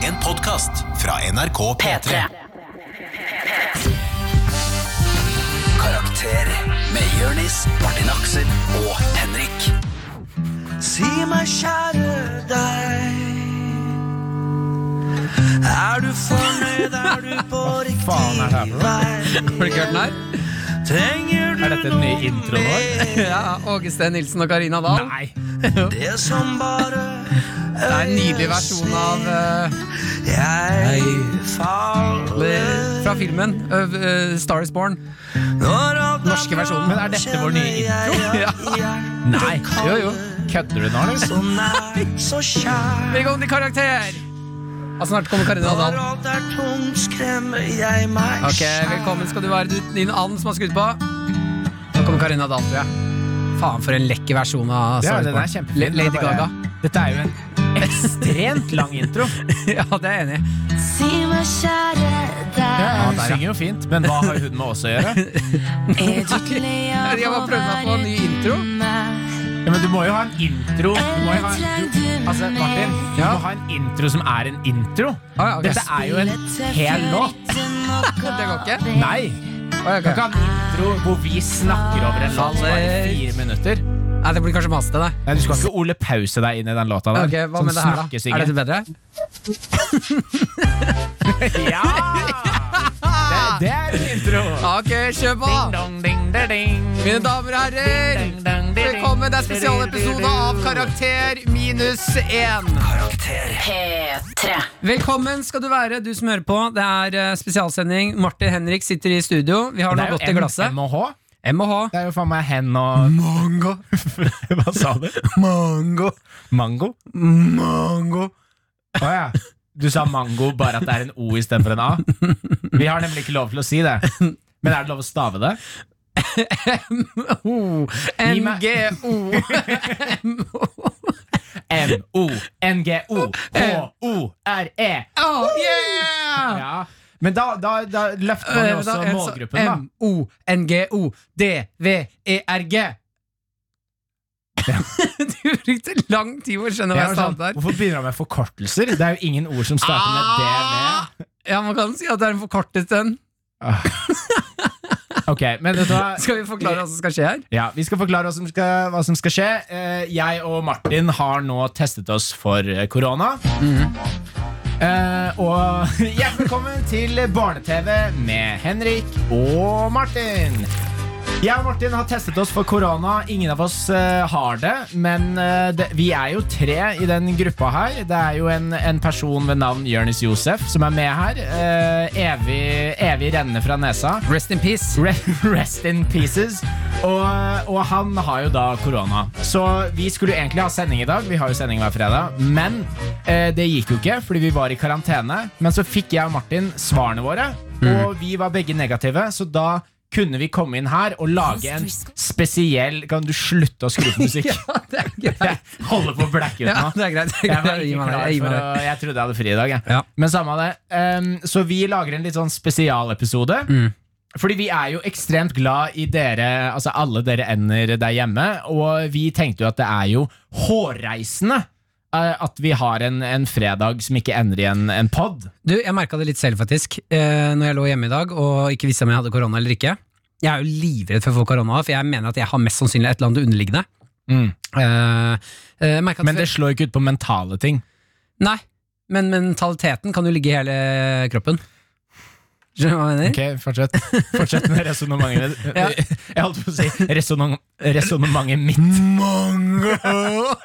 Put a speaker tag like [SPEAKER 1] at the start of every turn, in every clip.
[SPEAKER 1] podkast fra NRK P3.
[SPEAKER 2] Karakter med Jørnis, Martin Aksel og Henrik.
[SPEAKER 3] Si meg, kjære deg Er du fornøyd, er du på
[SPEAKER 4] faen er det her
[SPEAKER 3] riktig
[SPEAKER 4] for
[SPEAKER 3] vei?
[SPEAKER 5] Har du ikke hørt den her?
[SPEAKER 3] Trenger du
[SPEAKER 4] Er dette en ny intro nå?
[SPEAKER 5] Ja, Åge Steen Nilsen og Karina Dahl.
[SPEAKER 4] Nei.
[SPEAKER 3] det som bare
[SPEAKER 5] Det er en nydelig versjon av eh,
[SPEAKER 3] Jeg faller
[SPEAKER 5] Fra filmen uh, Star Is Born.
[SPEAKER 3] Når alt
[SPEAKER 5] norske
[SPEAKER 3] bra,
[SPEAKER 5] versjonen.
[SPEAKER 4] Men er dette vår nye
[SPEAKER 3] kjenner jeg
[SPEAKER 5] intro?
[SPEAKER 3] at hjertet
[SPEAKER 4] Nei.
[SPEAKER 3] kaller.
[SPEAKER 5] Jo, jo.
[SPEAKER 4] Kødder du nå, liksom? eller?
[SPEAKER 3] Så nær, så kjær
[SPEAKER 5] Velkommen til Karakter! Og snart kommer Karina
[SPEAKER 3] Når
[SPEAKER 5] Dahl.
[SPEAKER 3] alt er tomt, skremmer jeg meg
[SPEAKER 5] Ok, Velkommen skal du være, du, din and som har skutt på. Nå kommer Karina Dahl, tror jeg. Faen, for en lekker versjon av Star
[SPEAKER 4] Ja,
[SPEAKER 5] Is
[SPEAKER 4] den er
[SPEAKER 5] Born.
[SPEAKER 4] kjempefin.
[SPEAKER 5] Le- Lady
[SPEAKER 4] Den er bare-
[SPEAKER 5] Gaga.
[SPEAKER 4] Dette er jo en ekstremt lang intro.
[SPEAKER 5] ja, det er jeg enig i.
[SPEAKER 6] Si meg, kjære
[SPEAKER 4] Ja,
[SPEAKER 6] deg,
[SPEAKER 4] hun synger jo fint, men hva har hun med oss å gjøre?
[SPEAKER 6] er du lei av
[SPEAKER 5] Jeg
[SPEAKER 6] å
[SPEAKER 5] bare prøvde
[SPEAKER 6] være
[SPEAKER 5] meg på en ny intro.
[SPEAKER 6] meg?
[SPEAKER 4] Ja, men du må jo ha en intro. Du må jo ha, du, altså, Martin, du
[SPEAKER 5] Ja.
[SPEAKER 4] må ha en intro som er en intro.
[SPEAKER 5] Ah, ja, ok.
[SPEAKER 4] Dette er jo en hel låt.
[SPEAKER 5] Det går ikke?
[SPEAKER 4] Nei.
[SPEAKER 5] Å, ja,
[SPEAKER 4] Du kan
[SPEAKER 5] ok.
[SPEAKER 4] ha en intro hvor vi snakker over en låt som er i fire minutter.
[SPEAKER 5] Nei, det blir kanskje masete, det.
[SPEAKER 4] Nei, Du skal ikke Ole Pause deg inn i den låta der.
[SPEAKER 5] Ok, hva med det her, da? Er dette bedre?
[SPEAKER 4] Ja! Det, det er en intro.
[SPEAKER 5] Ok, kjør på!
[SPEAKER 4] Dong, ding, da, ding.
[SPEAKER 5] Mine damer og herrer, velkommen. Det er spesialepisode av Karakter minus én.
[SPEAKER 6] P3
[SPEAKER 5] Velkommen skal du være, du som hører på. Det er eh, spesialsending. Martin Henrik sitter i studio. Vi har
[SPEAKER 4] Det
[SPEAKER 5] noe
[SPEAKER 4] er jo
[SPEAKER 5] godt i
[SPEAKER 4] M-
[SPEAKER 5] glasset.
[SPEAKER 4] MH.
[SPEAKER 5] MH.
[SPEAKER 4] Det er jo faen meg hen og Mango. Hva sa du? Mango. Mango? Mango. Å ja. Du sa mango, bare at det er en O istedenfor en A. Vi har nemlig ikke lov til å si det. Men er det lov å stave det? Gi meg-
[SPEAKER 5] NGO.
[SPEAKER 4] M-O-N-G-O-H-O-R-E.
[SPEAKER 5] Oh, yeah! Eh,
[SPEAKER 4] Ja. Men da, da, da løfter man jo også målgruppen, da. E,
[SPEAKER 5] M-O-N-G-O-D-V-E-R-G. Du brukte lang tid på å skjønne hva
[SPEAKER 4] Jeg
[SPEAKER 5] jeg
[SPEAKER 4] var
[SPEAKER 5] sa
[SPEAKER 4] sånn,
[SPEAKER 5] der.
[SPEAKER 4] hvorfor begynner han med forkortelser? Det er jo ingen ord som starter med DV.
[SPEAKER 5] Ah! Ja, man kan si at det er en forkortet en.
[SPEAKER 4] Ok, men vet du hva?
[SPEAKER 5] Skal vi forklare hva som skal skje her?
[SPEAKER 4] Ja, Vi skal forklare hva som skal, hva som skal skje. Eh, jeg og Martin har nå testet oss for eh, korona. Eh, og hjertelig velkommen til Barne-TV med Henrik og Martin. Jeg og Martin har testet oss for korona. Ingen av oss eh, har det. Men eh, det, vi er jo tre i den gruppa her. Det er jo en, en person ved navn Jonis Josef som er med her. Eh, evig, evig renne fra nesa.
[SPEAKER 5] Rest in peace.
[SPEAKER 4] Re- Rest in pieces. Og, og han har jo da korona. Så vi skulle jo egentlig ha sending i dag, Vi har jo sending hver fredag men eh, det gikk jo ikke fordi vi var i karantene. Men så fikk jeg og Martin svarene våre,
[SPEAKER 5] Mm.
[SPEAKER 4] og vi var begge negative. Så da kunne vi komme inn her og lage en spesiell Kan du slutte å skru på musikk?
[SPEAKER 5] Ja, det er greit.
[SPEAKER 4] Jeg holder på å blacke ut
[SPEAKER 5] Ja,
[SPEAKER 4] nå.
[SPEAKER 5] det er greit. Det
[SPEAKER 4] Jeg
[SPEAKER 5] er
[SPEAKER 4] var
[SPEAKER 5] greit. Gi
[SPEAKER 4] ikke
[SPEAKER 5] meg det.
[SPEAKER 4] klar
[SPEAKER 5] Jeg gir
[SPEAKER 4] for
[SPEAKER 5] meg
[SPEAKER 4] å,
[SPEAKER 5] det.
[SPEAKER 4] jeg trodde jeg hadde fri i dag. Jeg.
[SPEAKER 5] Ja.
[SPEAKER 4] Men samme av det. Ehm, så vi lager en litt sånn spesialepisode.
[SPEAKER 5] Mm.
[SPEAKER 4] Fordi vi er jo ekstremt glad i dere, altså alle dere ender der hjemme. Og vi tenkte jo at det er jo hårreisende eh, at vi har en, en fredag som ikke ender i en, en pod.
[SPEAKER 5] Du, jeg merka det litt selv, faktisk, eh, når jeg lå hjemme i dag og ikke visste om jeg hadde korona eller ikke. Jeg er jo livredd for å få korona, for jeg mener at jeg har mest sannsynlig et eller annet underliggende. Eh, eh, merket at
[SPEAKER 4] Men det slår jo ikke ut på mentale ting.
[SPEAKER 5] Nei, men mentaliteten kan jo ligge i hele kroppen. Skjønner du hva jeg mener?
[SPEAKER 4] Ok, Fortsett Fortsett med resonnementet
[SPEAKER 5] Ja.
[SPEAKER 4] Jeg holdt på å si resonnement- resonnementet mitt.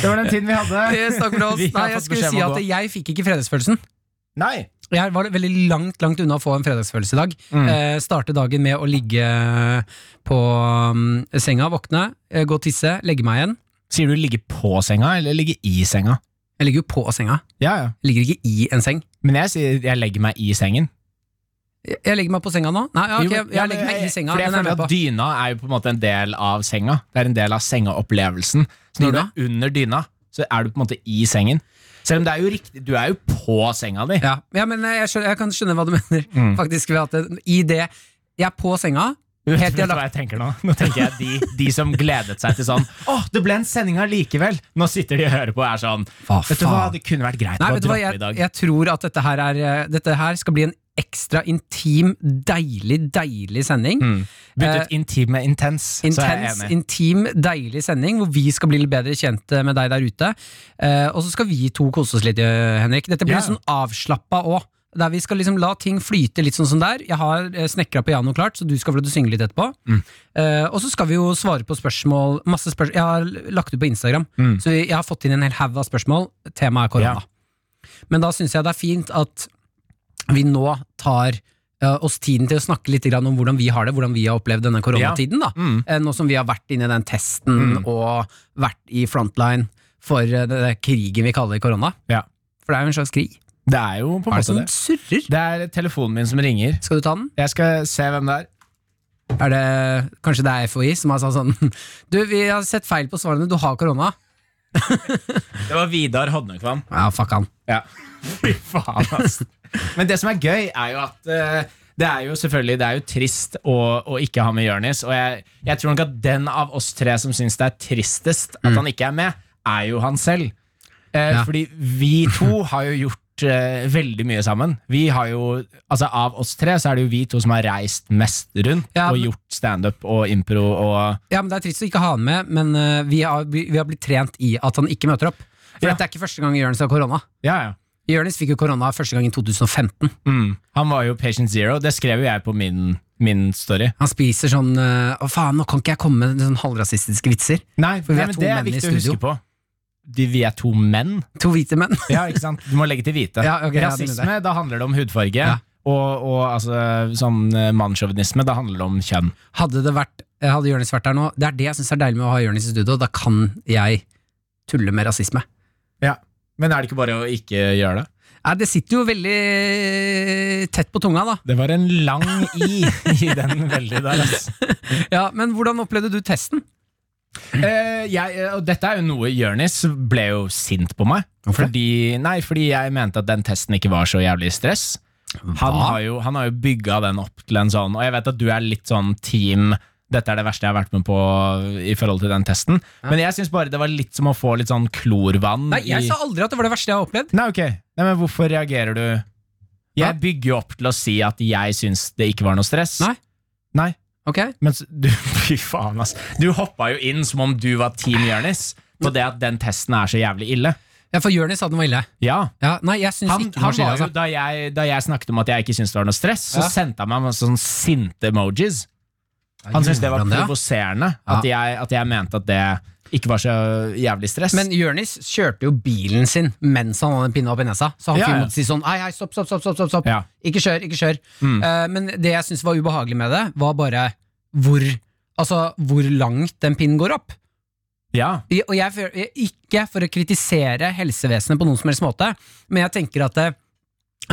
[SPEAKER 4] Det var den tiden vi hadde.
[SPEAKER 5] Yes, takk for oss.
[SPEAKER 4] Vi har
[SPEAKER 5] Nei, jeg
[SPEAKER 4] fått
[SPEAKER 5] skulle
[SPEAKER 4] beskjed om
[SPEAKER 5] si
[SPEAKER 4] å
[SPEAKER 5] at
[SPEAKER 4] gå.
[SPEAKER 5] jeg fikk ikke fredagsfølelsen.
[SPEAKER 4] Nei
[SPEAKER 5] Jeg var veldig langt langt unna å få en fredagsfølelse i dag.
[SPEAKER 4] Mm.
[SPEAKER 5] Eh, starte dagen med å ligge eh, på mm, senga, våkne, eh, gå og tisse, legge meg igjen.
[SPEAKER 4] Sier du ligge på senga, eller ligge i senga?
[SPEAKER 5] Jeg ligger jo på senga.
[SPEAKER 4] Ja, ja.
[SPEAKER 5] Jeg ligger ikke i en seng.
[SPEAKER 4] Men jeg sier jeg legger meg i sengen.
[SPEAKER 5] Jeg jeg legger meg på senga nå. Nei, ja, ok, jeg, jeg legger meg i senga.
[SPEAKER 4] eh, For jeg
[SPEAKER 5] Den er jeg
[SPEAKER 4] føler
[SPEAKER 5] med
[SPEAKER 4] at
[SPEAKER 5] på.
[SPEAKER 4] dyna er jo på en måte en del av senga. Det er en del av sengaopplevelsen. Så når du
[SPEAKER 5] Dyna?
[SPEAKER 4] er under dyna, så er du på en måte i sengen. Selv om det er jo riktig, du er jo på senga di.
[SPEAKER 5] eh,
[SPEAKER 4] Mm.
[SPEAKER 5] Ja, ja men eh, jeg, skjønner, jeg kan skjønne hå du mener, faktisk. Ved at det, I det jeg er på senga,
[SPEAKER 4] Vet
[SPEAKER 5] Helt
[SPEAKER 4] du
[SPEAKER 5] til jeg
[SPEAKER 4] hva jeg tenker nå? Nå tenker jeg de, de som gledet seg til sånn Å, det ble en sending allikevel! Nå sitter de og hører på og er sånn
[SPEAKER 5] Hva
[SPEAKER 4] Vet du hva,
[SPEAKER 5] faen?»
[SPEAKER 4] det kunne vært greit
[SPEAKER 5] Nei,
[SPEAKER 4] å
[SPEAKER 5] vet du hva,
[SPEAKER 4] droppe
[SPEAKER 5] jeg,
[SPEAKER 4] i dag.
[SPEAKER 5] jeg tror at dette her, er, eh, dette her skal bli en ekstra intim, deilig, deilig sending.
[SPEAKER 4] Mm. Byttet intim med intens, så er jeg
[SPEAKER 5] Intens,
[SPEAKER 4] enig.
[SPEAKER 5] intim, deilig sending hvor vi skal bli litt bedre kjent eh, med deg der ute. Eh, og så skal vi to kose oss litt, eh, Henrik. Dette blir
[SPEAKER 4] Ja.
[SPEAKER 5] litt sånn avslappa òg. Der vi skal liksom la ting flyte litt sånn som der. Jeg har eh, snekra piano klart, så du skal få lov til å synge litt etterpå.
[SPEAKER 4] Mm.
[SPEAKER 5] Eh, og så skal vi jo svare på spørsmål. Masse spørsmål. Jeg har lagt ut på Instagram,
[SPEAKER 4] Mm.
[SPEAKER 5] så jeg har fått inn en hel haug av spørsmål. Temaet er korona. Men da syns jeg det er fint at vi nå tar eh, oss tiden til å snakke litt grann om hvordan vi har det, hvordan vi har opplevd denne koronatiden. da.
[SPEAKER 4] Mm.
[SPEAKER 5] Eh, Nå som vi har vært inne i den testen og vært i frontline for eh, den der krigen vi kaller korona.
[SPEAKER 4] Ja.
[SPEAKER 5] For det er jo en slags krig.
[SPEAKER 4] Det er jo på
[SPEAKER 5] Hva
[SPEAKER 4] en
[SPEAKER 5] er det
[SPEAKER 4] måte
[SPEAKER 5] som
[SPEAKER 4] det.
[SPEAKER 5] surrer?
[SPEAKER 4] Det er telefonen min som ringer.
[SPEAKER 5] Skal du ta den?
[SPEAKER 4] Jeg skal se hvem det er.
[SPEAKER 5] Er det, kanskje det er FHI som har sagt sånn Du, vi har sett feil på svarene, du har korona.
[SPEAKER 4] Det var Vidar Hodnekvam.
[SPEAKER 5] Ja, fuck han.
[SPEAKER 4] Ja. Fy faen, altså. Men det som er gøy, er jo at eh, det er jo selvfølgelig det er jo trist å, å ikke ha med Jonis. Og jeg, jeg tror nok at den av oss tre som syns det er tristest at han ikke er med, er jo han selv. Eh,
[SPEAKER 5] Mm. Ja.
[SPEAKER 4] Fordi vi to har jo gjort eh, veldig mye sammen. Vi har jo, altså Av oss tre så er det jo vi to som har reist mest rundt
[SPEAKER 5] Ja,
[SPEAKER 4] og
[SPEAKER 5] men-
[SPEAKER 4] gjort standup og impro og
[SPEAKER 5] Ja, men Det er trist å ikke ha han med, men eh, vi, har, vi har blitt trent i at han ikke møter opp. For
[SPEAKER 4] Ja.
[SPEAKER 5] dette er ikke første gang Jonis har korona.
[SPEAKER 4] Ja, ja.
[SPEAKER 5] Jonis fikk jo korona første gang i 2015.
[SPEAKER 4] Mm. Han var jo patient zero. Det skrev jo jeg på min, min story.
[SPEAKER 5] Han spiser sånn eh, Å faen, nå kan ikke jeg komme med sånn halvrasistiske vitser.
[SPEAKER 4] Nei,
[SPEAKER 5] for vi er
[SPEAKER 4] men
[SPEAKER 5] to
[SPEAKER 4] det er
[SPEAKER 5] menn i
[SPEAKER 4] viktig å huske
[SPEAKER 5] studio.
[SPEAKER 4] på. De, vi er to menn.
[SPEAKER 5] To hvite menn.
[SPEAKER 4] Ja, ikke sant? Du må legge til hvite.
[SPEAKER 5] Ja, ok, ja, det
[SPEAKER 4] Rasisme, da handler det om hudfarge. Og, og altså, sånn eh, mannssjåvinisme, da handler det om kjønn.
[SPEAKER 5] Hadde, det vært, eh, hadde Jonis vært der nå Det er det jeg syns er deilig med å ha Jonis i studio. Da kan jeg tulle med rasisme.
[SPEAKER 4] Men er det ikke bare å ikke gjøre det?
[SPEAKER 5] Nei, det sitter jo veldig eh, tett på tunga, da.
[SPEAKER 4] Det var en lang i i den veldig der. ass.
[SPEAKER 5] Ja, Men hvordan opplevde du testen?
[SPEAKER 4] Eh, jeg, eh, og dette er jo noe Jonis ble jo sint på meg.
[SPEAKER 5] Hvorfor det?
[SPEAKER 4] Fordi, nei, fordi jeg mente at den testen ikke var så jævlig stress. Han har jo, han har jo bygga den opp til en sånn, og jeg vet at du er litt sånn team dette er det verste jeg har vært med på i forhold til den testen. Men jeg syns bare det var litt som å få litt sånn klorvann
[SPEAKER 5] Nei, jeg
[SPEAKER 4] i
[SPEAKER 5] sa aldri at det var det verste jeg har opplevd.
[SPEAKER 4] Nei, ok. Nei, men hvorfor reagerer du
[SPEAKER 5] Hæ?
[SPEAKER 4] Jeg bygger jo opp til å si at jeg syns det ikke var noe stress.
[SPEAKER 5] Nei.
[SPEAKER 4] Nei.
[SPEAKER 5] Ok?
[SPEAKER 4] Men så- du, fy faen, ass. Du hoppa jo inn som om du var Team Jonis på det at den testen er så jævlig ille.
[SPEAKER 5] Ja, For Jonis sa den var ille.
[SPEAKER 4] Ja.
[SPEAKER 5] Ja, Nei, jeg syns
[SPEAKER 4] Han,
[SPEAKER 5] ikke den var
[SPEAKER 4] han
[SPEAKER 5] så ille.
[SPEAKER 4] var jo,
[SPEAKER 5] Altså.
[SPEAKER 4] da, jeg, da jeg snakket om at jeg ikke syntes det var noe stress, så
[SPEAKER 5] Ja.
[SPEAKER 4] sendte han meg masse sånn sinte emojis. Han syntes det var
[SPEAKER 5] Gjorde han det,
[SPEAKER 4] provoserende at, jeg- at jeg mente at det ikke var så jævlig stress.
[SPEAKER 5] Men Jonis kjørte jo bilen sin mens han hadde en pinne opp i nesa. Så han
[SPEAKER 4] Ja,
[SPEAKER 5] fyren
[SPEAKER 4] ja.
[SPEAKER 5] måtte si sånn Hei, hei, stopp, stopp, stopp, stopp, stopp, stopp.
[SPEAKER 4] Ja. Mm.
[SPEAKER 5] Ikke kjør, ikke kjør Eh, Men det jeg synes var ubehagelig med det Var bare hvor, altså, hvor langt den pinnen går opp
[SPEAKER 4] ja.
[SPEAKER 5] I- Og jeg, føler- jeg- Ikke for å kritisere helsevesenet på noen som helst måte Men jeg tenker at eh,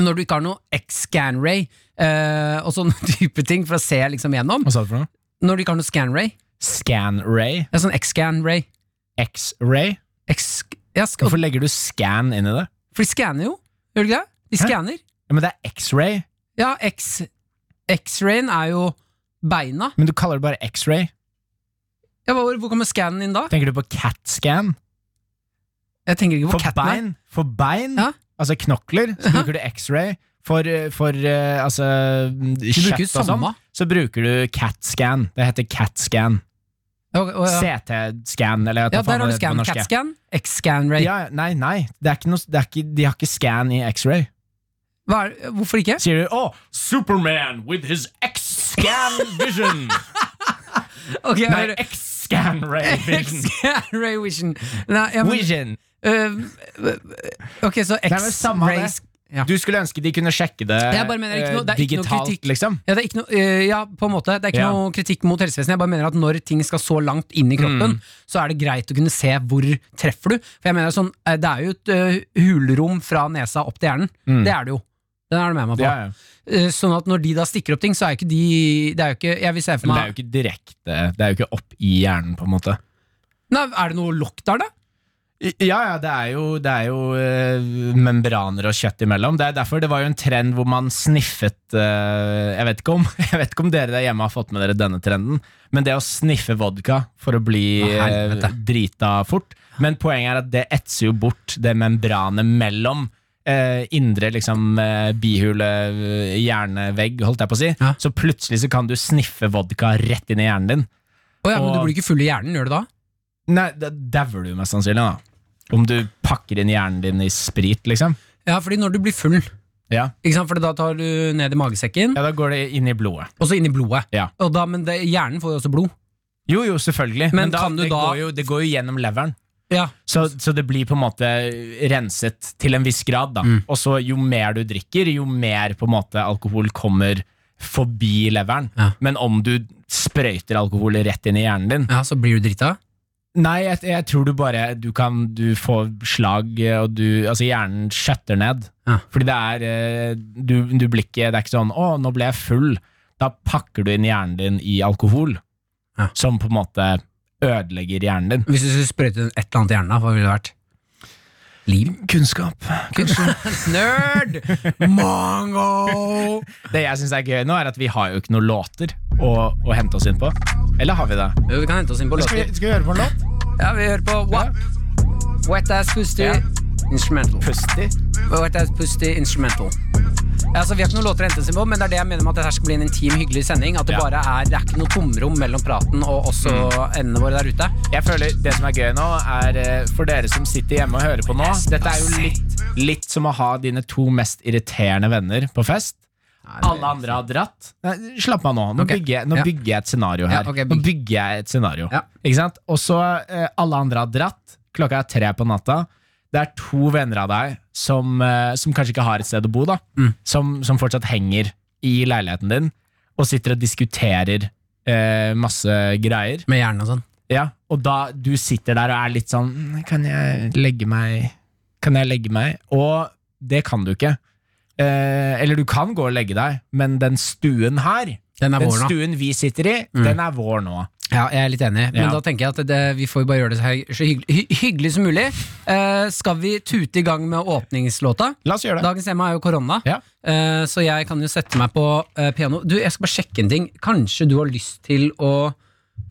[SPEAKER 5] Når du ikke har noe X-scan-ray eh, Og sånne type ting for å se liksom gjennom
[SPEAKER 4] Hva sa du for noe?
[SPEAKER 5] Når du ikke har noe scan-ray
[SPEAKER 4] Scan-ray?
[SPEAKER 5] Ja, sånn X-scan-ray
[SPEAKER 4] X-ray?
[SPEAKER 5] X- ja, sk-
[SPEAKER 4] Hvorfor legger du scan inn i det?
[SPEAKER 5] For de scanner jo, gjør de ikke det? De
[SPEAKER 4] Hæ?
[SPEAKER 5] scanner
[SPEAKER 4] Ja, men det er X-ray.
[SPEAKER 5] Ja, X- X-rayen er jo beina
[SPEAKER 4] Men du kaller det bare X-ray.
[SPEAKER 5] ja, hvor, hvor kommer scannen inn da?
[SPEAKER 4] Tenker du på CAT-scan?
[SPEAKER 5] Jeg tenker ikke på
[SPEAKER 4] For
[SPEAKER 5] katten her.
[SPEAKER 4] bein? For bein?
[SPEAKER 5] Ja.
[SPEAKER 4] Altså knokler? Så bruker du X-ray. For, eh, for eh, altså
[SPEAKER 5] bruker jo
[SPEAKER 4] kjøtt og sånn,
[SPEAKER 5] samme.
[SPEAKER 4] så bruker du CAT-scan. Det heter CAT-scan.
[SPEAKER 5] Ja, og- og- ja.
[SPEAKER 4] CT-scan, eller hva
[SPEAKER 5] ja,
[SPEAKER 4] faen
[SPEAKER 5] der har du
[SPEAKER 4] det heter på
[SPEAKER 5] scan.
[SPEAKER 4] norsk, ja.
[SPEAKER 5] CAT-scan, X-scan-ray.
[SPEAKER 4] Ja, ja, nei, nei. Det er ikke noe, det er ikke, de har ikke scan i X-ray.
[SPEAKER 5] Hva er- Hvorfor ikke?
[SPEAKER 4] Sier du 'Å, Superman with his X-scan vision'.
[SPEAKER 5] Ok, jeg
[SPEAKER 4] nei,
[SPEAKER 5] hører-
[SPEAKER 4] X-scan ray vision.
[SPEAKER 5] X-ray vision. Nei, ja, men,
[SPEAKER 4] vision.
[SPEAKER 5] øh, ok, så
[SPEAKER 4] er vel samme
[SPEAKER 5] X-ray
[SPEAKER 4] det.
[SPEAKER 5] sk- ja.
[SPEAKER 4] Du skulle ønske de kunne sjekke det,
[SPEAKER 5] Jeg bare mener det er ikke noe- det er
[SPEAKER 4] eh,
[SPEAKER 5] ikke noe
[SPEAKER 4] digitalt,
[SPEAKER 5] kritikk.
[SPEAKER 4] liksom.
[SPEAKER 5] Ja, det er ikke noe, øh, ja, på en måte. Det er ikke
[SPEAKER 4] Ja.
[SPEAKER 5] noe kritikk mot helsevesenet. Jeg bare mener at når ting skal så langt inn i kroppen,
[SPEAKER 4] Mm.
[SPEAKER 5] så er det greit å kunne se hvor treffer du. For jeg mener sånn, eh, det er jo et øh, hulrom fra nesa opp til hjernen. Det er det jo. Den er du med meg på.
[SPEAKER 4] Mm. Ja, ja.
[SPEAKER 5] Eh, Sånn at når de da stikker opp ting, så er jo ikke de Det er jo ikke Jeg vil se for
[SPEAKER 4] Men det er
[SPEAKER 5] meg
[SPEAKER 4] jo ikke direkte, det er jo ikke opp i hjernen, på en måte.
[SPEAKER 5] Nei, er det noe lokk der, da?
[SPEAKER 4] Ja, ja, det er jo, det er jo eh, membraner og kjøtt imellom. Det er derfor det var jo en trend hvor man sniffet eh, jeg, vet ikke om, jeg vet ikke om dere der hjemme har fått med dere denne trenden, men det å sniffe vodka for å bli eh, drita fort. Men poenget er at det etser jo bort det membranet mellom eh, indre liksom, eh, bihule, eh, hjernevegg, holdt jeg på å si.
[SPEAKER 5] Ja.
[SPEAKER 4] Så plutselig så kan du sniffe vodka rett inn i hjernen din.
[SPEAKER 5] Å ja, men
[SPEAKER 4] Og-
[SPEAKER 5] du blir ikke full i hjernen, gjør du da?
[SPEAKER 4] Nei, da dauer du mest sannsynlig, da. Om du pakker inn hjernen din i sprit, liksom.
[SPEAKER 5] Ja, fordi når du blir full,
[SPEAKER 4] Ja.
[SPEAKER 5] ikke sant? for da tar du ned i magesekken,
[SPEAKER 4] ja, da går det inn i blodet.
[SPEAKER 5] og så inn i blodet.
[SPEAKER 4] Ja.
[SPEAKER 5] Og da, men det, hjernen får jo også blod.
[SPEAKER 4] Jo, jo, selvfølgelig.
[SPEAKER 5] Men
[SPEAKER 4] Men, da,
[SPEAKER 5] kan du
[SPEAKER 4] det,
[SPEAKER 5] da-
[SPEAKER 4] går jo, det går jo gjennom leveren.
[SPEAKER 5] Ja.
[SPEAKER 4] Så, så det blir på en måte renset til en viss grad, da.
[SPEAKER 5] Mm.
[SPEAKER 4] Og så jo mer du drikker, jo mer på en måte alkohol kommer forbi leveren.
[SPEAKER 5] Ja.
[SPEAKER 4] Men om du sprøyter alkohol rett inn i hjernen din
[SPEAKER 5] ja, så blir du drita.
[SPEAKER 4] Nei, jeg, jeg tror du bare Du kan du får slag, og du Altså, hjernen skjøtter ned.
[SPEAKER 5] Ja.
[SPEAKER 4] Fordi det er eh, du, du blir ikke Det er ikke sånn 'Å, nå ble jeg full'. Da pakker du inn hjernen din i alkohol,
[SPEAKER 5] Ja.
[SPEAKER 4] som på en måte ødelegger hjernen din.
[SPEAKER 5] Hvis du skulle sprøyte et eller annet i hjernen, da, hva ville det vært? Liv?
[SPEAKER 4] Kunnskap.
[SPEAKER 5] Nerd! Mango!
[SPEAKER 4] Det jeg syns er gøy nå, er at vi har jo ikke noen låter å, å hente oss inn på. Eller har vi det?
[SPEAKER 5] Jo, vi kan hente oss inn på
[SPEAKER 4] Skal vi,
[SPEAKER 5] låter.
[SPEAKER 4] skal vi høre på en låt?
[SPEAKER 5] Ja, vi hører på What? Wet Ass Pussy
[SPEAKER 4] Ja.
[SPEAKER 5] Instrumental.
[SPEAKER 4] Pusti.
[SPEAKER 5] Wet Ass Pussy Instrumental. Ja, altså, vi har ikke noen låter å hente oss inn på, men det er det jeg mener med at dette skal bli en intim, hyggelig sending. At det
[SPEAKER 4] Ja.
[SPEAKER 5] bare er, det er ikke noe tomrom mellom praten og også endene våre der ute.
[SPEAKER 4] Jeg føler Det som er gøy nå, er eh, for dere som sitter hjemme og hører på nå Dette er jo litt, litt som å ha dine to mest irriterende venner på fest. Alle andre har dratt. Nei, slapp av nå. Nå,
[SPEAKER 5] Ok.
[SPEAKER 4] bygger, jeg, nå
[SPEAKER 5] Ja.
[SPEAKER 4] bygger jeg et scenario her.
[SPEAKER 5] Ja, ok, bygg.
[SPEAKER 4] Nå bygger jeg et scenario.
[SPEAKER 5] Ja.
[SPEAKER 4] Ikke sant? Og så eh, alle andre har dratt. Klokka er tre på natta. Det er to venner av deg som, eh, som kanskje ikke har et sted å bo, da.
[SPEAKER 5] Mm.
[SPEAKER 4] Som, som fortsatt henger i leiligheten din og sitter og diskuterer eh, masse greier.
[SPEAKER 5] Med hjernen og sånn.
[SPEAKER 4] Ja, og da du sitter der og er litt sånn "Mm, Kan jeg legge meg? Kan jeg legge meg? Og det kan du ikke. Eh, eller du kan gå og legge deg, men den stuen her,
[SPEAKER 5] Den er
[SPEAKER 4] den
[SPEAKER 5] vår nå.
[SPEAKER 4] stuen vi sitter i, den er vår nå.
[SPEAKER 5] Ja, jeg er litt enig, men
[SPEAKER 4] Ja.
[SPEAKER 5] da tenker jeg at det, vi får jo bare gjøre det så, hy- så hyggelig, hy hyggelig som mulig. Eh, skal vi tute i gang med åpningslåta?
[SPEAKER 4] La oss gjøre det.
[SPEAKER 5] Dagens tema er jo korona,
[SPEAKER 4] Ja.
[SPEAKER 5] eh, så jeg kan jo sette meg på eh, piano. Du, jeg skal bare sjekke en ting. Kanskje du har lyst til å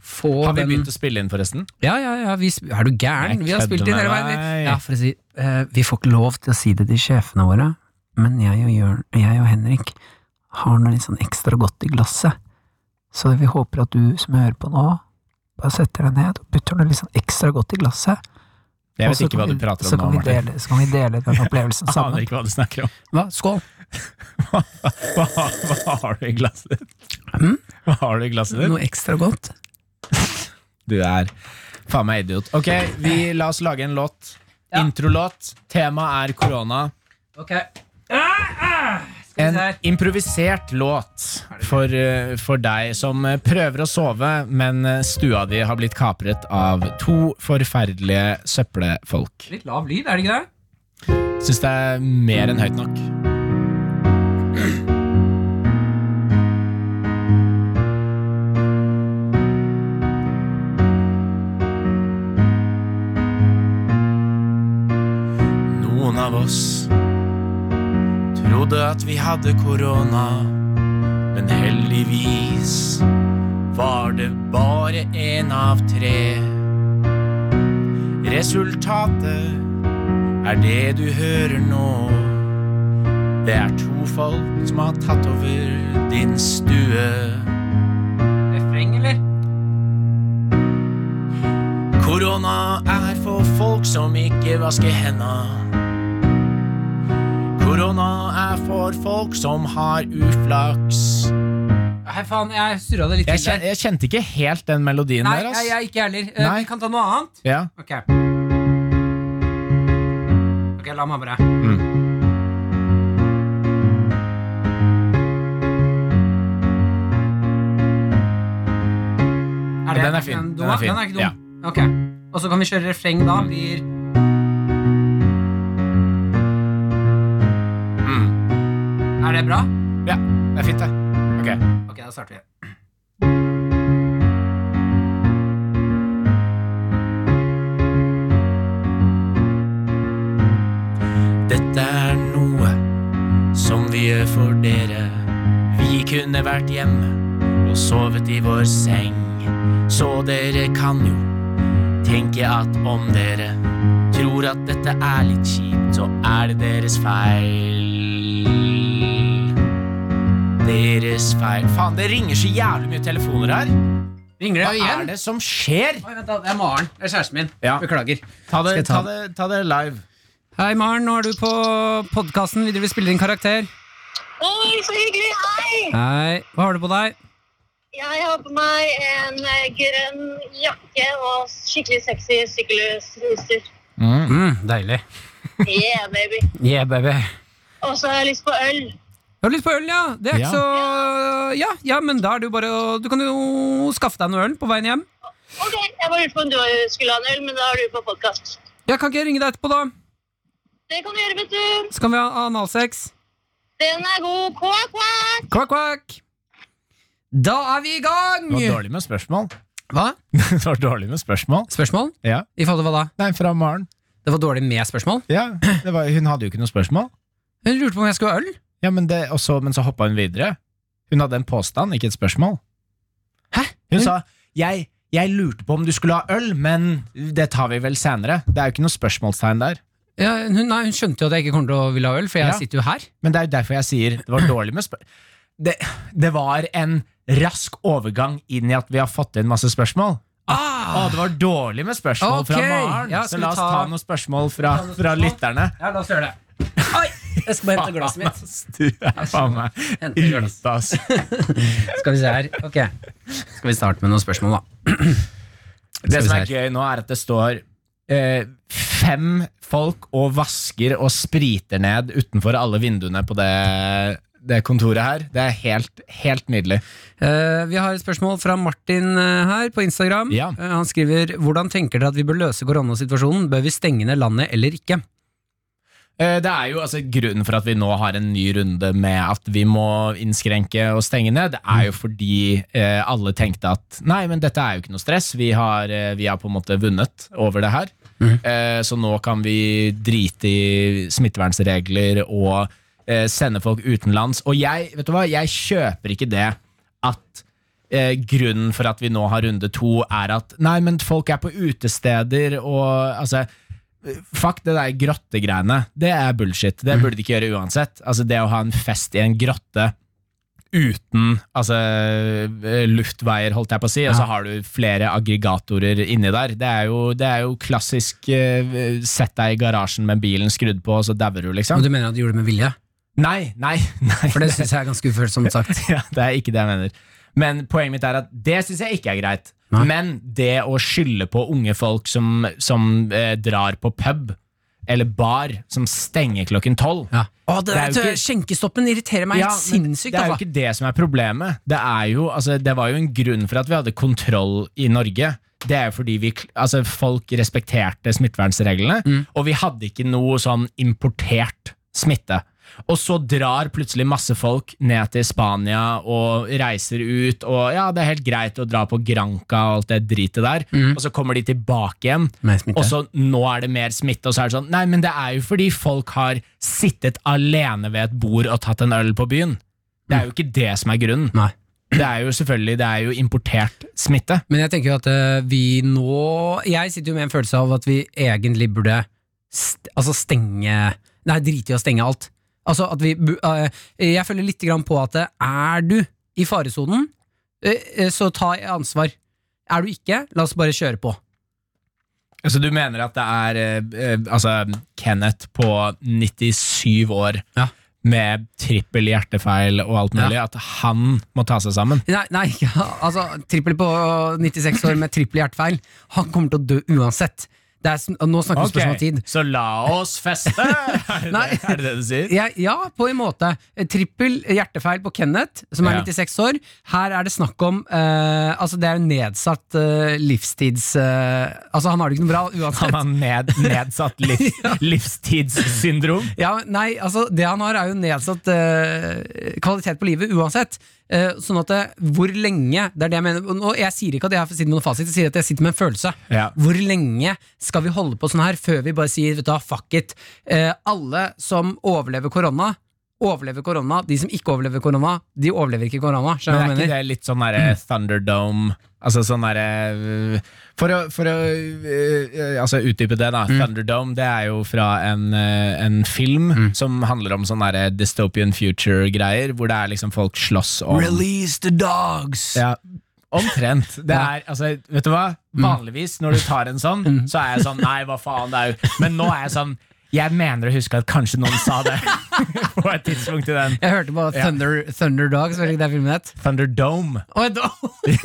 [SPEAKER 5] få
[SPEAKER 4] Har vi
[SPEAKER 5] den-
[SPEAKER 4] begynt å spille inn, forresten?
[SPEAKER 5] Ja, ja, ja. Vi, sp- er du gæren?
[SPEAKER 4] Jeg
[SPEAKER 5] Vi har spilt inn
[SPEAKER 4] kødder
[SPEAKER 5] hele veien.
[SPEAKER 4] med
[SPEAKER 5] vi.
[SPEAKER 4] deg.
[SPEAKER 5] Ja, for å si, eh, vi får ikke lov til å si det til sjefene våre, men jeg og, Jørn, jeg og Henrik har noe litt sånn ekstra godt i glasset. Så vi håper at du som hører på nå, bare setter deg ned og putter noe litt sånn ekstra godt i glasset.
[SPEAKER 4] Jeg
[SPEAKER 5] og
[SPEAKER 4] vet
[SPEAKER 5] så
[SPEAKER 4] ikke hva
[SPEAKER 5] kan
[SPEAKER 4] du
[SPEAKER 5] vi-
[SPEAKER 4] prater
[SPEAKER 5] så
[SPEAKER 4] om nå,
[SPEAKER 5] kan vi
[SPEAKER 4] Martin.
[SPEAKER 5] dele- Så kan vi dele den opplevelsen
[SPEAKER 4] Jeg aner
[SPEAKER 5] sammen.
[SPEAKER 4] ikke hva du snakker om.
[SPEAKER 5] Hva? Skål!
[SPEAKER 4] Hva, hva, hva har du i glasset ditt? Hva har du i glasset ditt?
[SPEAKER 5] Noe ekstra godt.
[SPEAKER 4] Du er faen meg idiot. Ok, vi la oss lage en låt. Introlåt. Temaet er korona.
[SPEAKER 5] Ok. Ah! Skal vi se
[SPEAKER 4] En
[SPEAKER 5] her.
[SPEAKER 4] improvisert låt for, eh, for deg som eh, prøver å sove, men eh, stua di har blitt kapret av to forferdelige søppelfolk.
[SPEAKER 5] Litt lav lyd, er det ikke det?
[SPEAKER 4] Syns det er mer enn høyt nok. Noen av oss trodde at vi hadde korona, men heldigvis var det bare én av tre. Resultatet er det du hører nå. Det er to folk som har tatt over din stue.
[SPEAKER 5] Refreng, eller?
[SPEAKER 4] Korona er for folk som ikke vasker henda. Korona er for folk som har uflaks.
[SPEAKER 5] Hei, faen, jeg surra det litt.
[SPEAKER 4] Jeg,
[SPEAKER 5] til
[SPEAKER 4] kjen,
[SPEAKER 5] der.
[SPEAKER 4] jeg kjente ikke helt den melodien
[SPEAKER 5] Nei,
[SPEAKER 4] der.
[SPEAKER 5] jeg,
[SPEAKER 4] ass.
[SPEAKER 5] jeg ikke heller. Eh,
[SPEAKER 4] Nei.
[SPEAKER 5] Vi kan ta noe annet.
[SPEAKER 4] Ja.
[SPEAKER 5] Ok. Ok, la meg bare
[SPEAKER 4] Mm.
[SPEAKER 5] Er det,
[SPEAKER 4] Den er fin.
[SPEAKER 5] Den,
[SPEAKER 4] Den er fin. Mm.
[SPEAKER 5] Den er ikke dum. Ok. Og så kan vi kjøre refreng da. Blir
[SPEAKER 4] Mm.
[SPEAKER 5] Er det bra?
[SPEAKER 4] ja, det er fint, det. Ok.
[SPEAKER 5] Ok, da starter vi.
[SPEAKER 4] Dette er noe som vi gjør for dere. Vi kunne vært hjemme og sovet i vår seng. Så dere kan jo tenke at om dere tror at dette er litt kjipt, så er det deres feil. Deres feil. Faen, det ringer så jævlig mye telefoner her.
[SPEAKER 5] Ringer
[SPEAKER 4] Hva
[SPEAKER 5] det
[SPEAKER 4] er
[SPEAKER 5] igjen?
[SPEAKER 4] det som skjer?
[SPEAKER 5] Oi, vent da, det er Maren. Det er kjæresten min.
[SPEAKER 4] Ja.
[SPEAKER 5] Beklager.
[SPEAKER 4] Ta det,
[SPEAKER 5] Skal jeg
[SPEAKER 4] ta
[SPEAKER 5] ta
[SPEAKER 4] det, ta det live.
[SPEAKER 5] Hei, Maren. Nå er du på podkasten. Vi driver og spiller inn karakter.
[SPEAKER 7] Oi, så hyggelig! Hei!
[SPEAKER 5] Hei. Hva har du på deg?
[SPEAKER 7] Jeg har på meg en eh, grønn jakke og skikkelig sexy sykkelhuser.
[SPEAKER 5] Mm, deilig.
[SPEAKER 7] Yeah, baby.
[SPEAKER 5] Yeah, baby.
[SPEAKER 7] Og så har jeg lyst på øl.
[SPEAKER 5] Du har lyst på øl, ja? Det er
[SPEAKER 4] Ja.
[SPEAKER 5] ikke så ja, ja, men da er det jo bare å Du kan jo skaffe deg noe øl på veien hjem.
[SPEAKER 7] Ok, jeg bare lurte på om du skulle ha en øl, men da har du på podkast.
[SPEAKER 5] Ja, Kan ikke jeg ringe deg etterpå, da?
[SPEAKER 7] Det kan du gjøre, vet du.
[SPEAKER 5] Så kan vi ha analsex.
[SPEAKER 7] Den er god. Kvakk, kvakk!
[SPEAKER 5] Kvakk, kvakk! Da er vi i gang!
[SPEAKER 4] Det var dårlig med spørsmål.
[SPEAKER 5] Hva?
[SPEAKER 4] Det var dårlig med spørsmål.
[SPEAKER 5] Spørsmål?
[SPEAKER 4] Ja.
[SPEAKER 5] I forhold til hva da?
[SPEAKER 4] Nei, fra Maren.
[SPEAKER 5] Det var dårlig med spørsmål?
[SPEAKER 4] Ja, det var, hun hadde jo ikke noe spørsmål.
[SPEAKER 5] Hun lurte på om jeg skulle ha øl.
[SPEAKER 4] Ja, men, det, og så- men så hoppa hun videre. Hun hadde en påstand, ikke et spørsmål.
[SPEAKER 5] Hæ?
[SPEAKER 4] Hun sa jeg, 'jeg lurte på om du skulle ha øl, men det tar vi vel senere'. Det er jo ikke noe spørsmålstegn der.
[SPEAKER 5] Ja, hun, nei, hun skjønte jo at jeg ikke kommer til å ville ha øl, for jeg
[SPEAKER 4] Ja.
[SPEAKER 5] sitter jo her.
[SPEAKER 4] Men det er jo derfor jeg sier det var dårlig med spør... Det, det var en rask overgang inn i at vi har fått inn masse spørsmål. Å,
[SPEAKER 5] Ah!
[SPEAKER 4] det var dårlig med spørsmål fra
[SPEAKER 5] Ok.
[SPEAKER 4] Maren,
[SPEAKER 5] Ja,
[SPEAKER 4] så
[SPEAKER 5] skal vi
[SPEAKER 4] la oss ta,
[SPEAKER 5] ta-
[SPEAKER 4] noen spørsmål fra, fra lytterne.
[SPEAKER 5] Ja, la oss gjøre det. Oi! Jeg skal bare hente glasset mitt.
[SPEAKER 4] Ass, du er faen meg
[SPEAKER 5] Henter
[SPEAKER 4] ute,
[SPEAKER 5] glass.
[SPEAKER 4] ass.
[SPEAKER 5] Skal vi se her. Ok. Skal vi starte med noen spørsmål, da.
[SPEAKER 4] Det
[SPEAKER 5] Skal
[SPEAKER 4] som
[SPEAKER 5] vi
[SPEAKER 4] er gøy nå, er at det står eh, fem folk og vasker og spriter ned utenfor alle vinduene på det, det kontoret her. Det er helt, helt nydelig.
[SPEAKER 5] Eh, vi har et spørsmål fra Martin eh, her på Instagram.
[SPEAKER 4] Ja.
[SPEAKER 5] Eh, han skriver Hvordan tenker dere at vi bør løse koronasituasjonen? Bør vi stenge ned landet eller ikke?
[SPEAKER 4] Eh, Det er jo altså Grunnen for at vi nå har en ny runde med at vi må innskrenke og stenge ned, det er jo fordi eh, alle tenkte at nei, men dette er jo ikke noe stress. Vi har, eh, vi har på en måte vunnet over det her. Eh, så nå kan vi drite i smittevernregler og eh, sende folk utenlands. Og jeg, vet du hva, jeg kjøper ikke det at eh, grunnen for at vi nå har runde to, er at nei, men folk er på utesteder og altså Fuck det der grottegreiene. Det er bullshit.
[SPEAKER 5] Mhm.
[SPEAKER 4] Det burde de ikke gjøre uansett. Altså Det å ha en fest i en grotte uten altså, eh, luftveier, holdt jeg på å si, og så har du flere aggregatorer inni der, det er jo, det er jo klassisk eh, sett deg i garasjen med bilen skrudd på, og så dauer du,
[SPEAKER 5] Men
[SPEAKER 4] liksom.
[SPEAKER 5] du mener at de gjorde det med vilje?
[SPEAKER 4] Nei, nei, nei.
[SPEAKER 5] For det syns jeg er ganske ufølsomt sagt.
[SPEAKER 4] Ja, det er ikke det jeg mener. Men poenget mitt er at det syns jeg ikke er greit.
[SPEAKER 5] Nei.
[SPEAKER 4] Men det å skylde på unge folk som, som eh, drar på pub eller bar, som stenger klokken tolv
[SPEAKER 5] Ja. Å, det,
[SPEAKER 4] Det er
[SPEAKER 5] vet
[SPEAKER 4] jo
[SPEAKER 5] du,
[SPEAKER 4] ikke-
[SPEAKER 5] Skjenkestoppen irriterer meg
[SPEAKER 4] Ja,
[SPEAKER 5] helt
[SPEAKER 4] men
[SPEAKER 5] sinnssykt.
[SPEAKER 4] Det er jo
[SPEAKER 5] altså.
[SPEAKER 4] ikke det som er problemet. Det, er jo, altså, det var jo en grunn for at vi hadde kontroll i Norge. Det er jo fordi vi, kl- altså, folk respekterte smittevernreglene,
[SPEAKER 5] Mm.
[SPEAKER 4] og vi hadde ikke noe sånn importert smitte. Og så drar plutselig masse folk ned til Spania og reiser ut, og ja, det er helt greit å dra på Granca og alt det dritet der,
[SPEAKER 5] Mm.
[SPEAKER 4] og så kommer de tilbake igjen,
[SPEAKER 5] Med smitte.
[SPEAKER 4] og så nå er det mer smitte, og så er det sånn Nei, men det er jo fordi folk har sittet alene ved et bord og tatt en øl på byen. Det er jo ikke det som er grunnen.
[SPEAKER 5] Nei.
[SPEAKER 4] Det er jo selvfølgelig det er jo importert smitte.
[SPEAKER 5] Men jeg tenker jo at eh, vi nå Jeg sitter jo med en følelse av at vi egentlig burde st altså stenge Nei, drite i å stenge alt. Altså at vi bu- eh, Jeg føler litt grann på at eh, er du i faresonen, eh, eh, så ta ansvar. Er du ikke, la oss bare kjøre på.
[SPEAKER 4] Så du mener at det er eh, eh, altså, Kenneth på 97 år
[SPEAKER 5] Ja.
[SPEAKER 4] med trippel hjertefeil og alt mulig, at han må ta seg sammen?
[SPEAKER 5] Nei, nei ikke- altså trippel på 96 år med trippel hjertefeil. Han kommer til å dø uansett. Det er, sn- nå snakker vi spørsmål om tid.
[SPEAKER 4] så la oss feste! er, det,
[SPEAKER 5] Nei.
[SPEAKER 4] er det det du sier?
[SPEAKER 5] Ja, ja, på en måte. Trippel hjertefeil på Kenneth, som er
[SPEAKER 4] Ja.
[SPEAKER 5] 96 år. Her er det snakk om eh, Altså, det er jo nedsatt eh, livstids... eh, altså, han har det ikke noe bra
[SPEAKER 4] Han
[SPEAKER 5] uansett.
[SPEAKER 4] har ned, nedsatt liv, livstidssyndrom.
[SPEAKER 5] Ja, nei, altså, det han har, er jo nedsatt eh, kvalitet på livet uansett. Eh, sånn at det, hvor lenge Det er det jeg mener. Og nå- jeg sier ikke at jeg sitter med noen fasit, jeg sier at jeg sitter med en følelse.
[SPEAKER 4] Ja.
[SPEAKER 5] Hvor lenge skal vi holde på sånn her før vi bare sier vet du, hva, fuck it. Eh, alle som overlever korona, overlever korona. De som ikke overlever korona, de overlever ikke korona.
[SPEAKER 4] Men
[SPEAKER 5] Skjønner du hva
[SPEAKER 4] er
[SPEAKER 5] jeg
[SPEAKER 4] ikke
[SPEAKER 5] mener?
[SPEAKER 4] det litt sånn derre Thunderdome Altså sånn derre For å, for å øh, altså utdype det, da.
[SPEAKER 5] Mm.
[SPEAKER 4] Thunderdome det er jo fra en, øh, en film
[SPEAKER 5] Mm.
[SPEAKER 4] som handler om sånn derre dystopian future-greier, hvor det er liksom folk slåss om
[SPEAKER 5] Release the dogs!
[SPEAKER 4] ja, Omtrent. Det er, altså, vet du hva?
[SPEAKER 5] Mm.
[SPEAKER 4] Vanligvis når du tar en sånn, så er jeg sånn Nei, hva faen, det er jo Men nå er jeg sånn Jeg mener å huske at kanskje noen sa det på et tidspunkt i den
[SPEAKER 5] Jeg hørte på
[SPEAKER 4] Ja.
[SPEAKER 5] Thunder, Thunder Dogs, var det ikke det filmen het?
[SPEAKER 4] Thunderdome.
[SPEAKER 5] Å, et dog.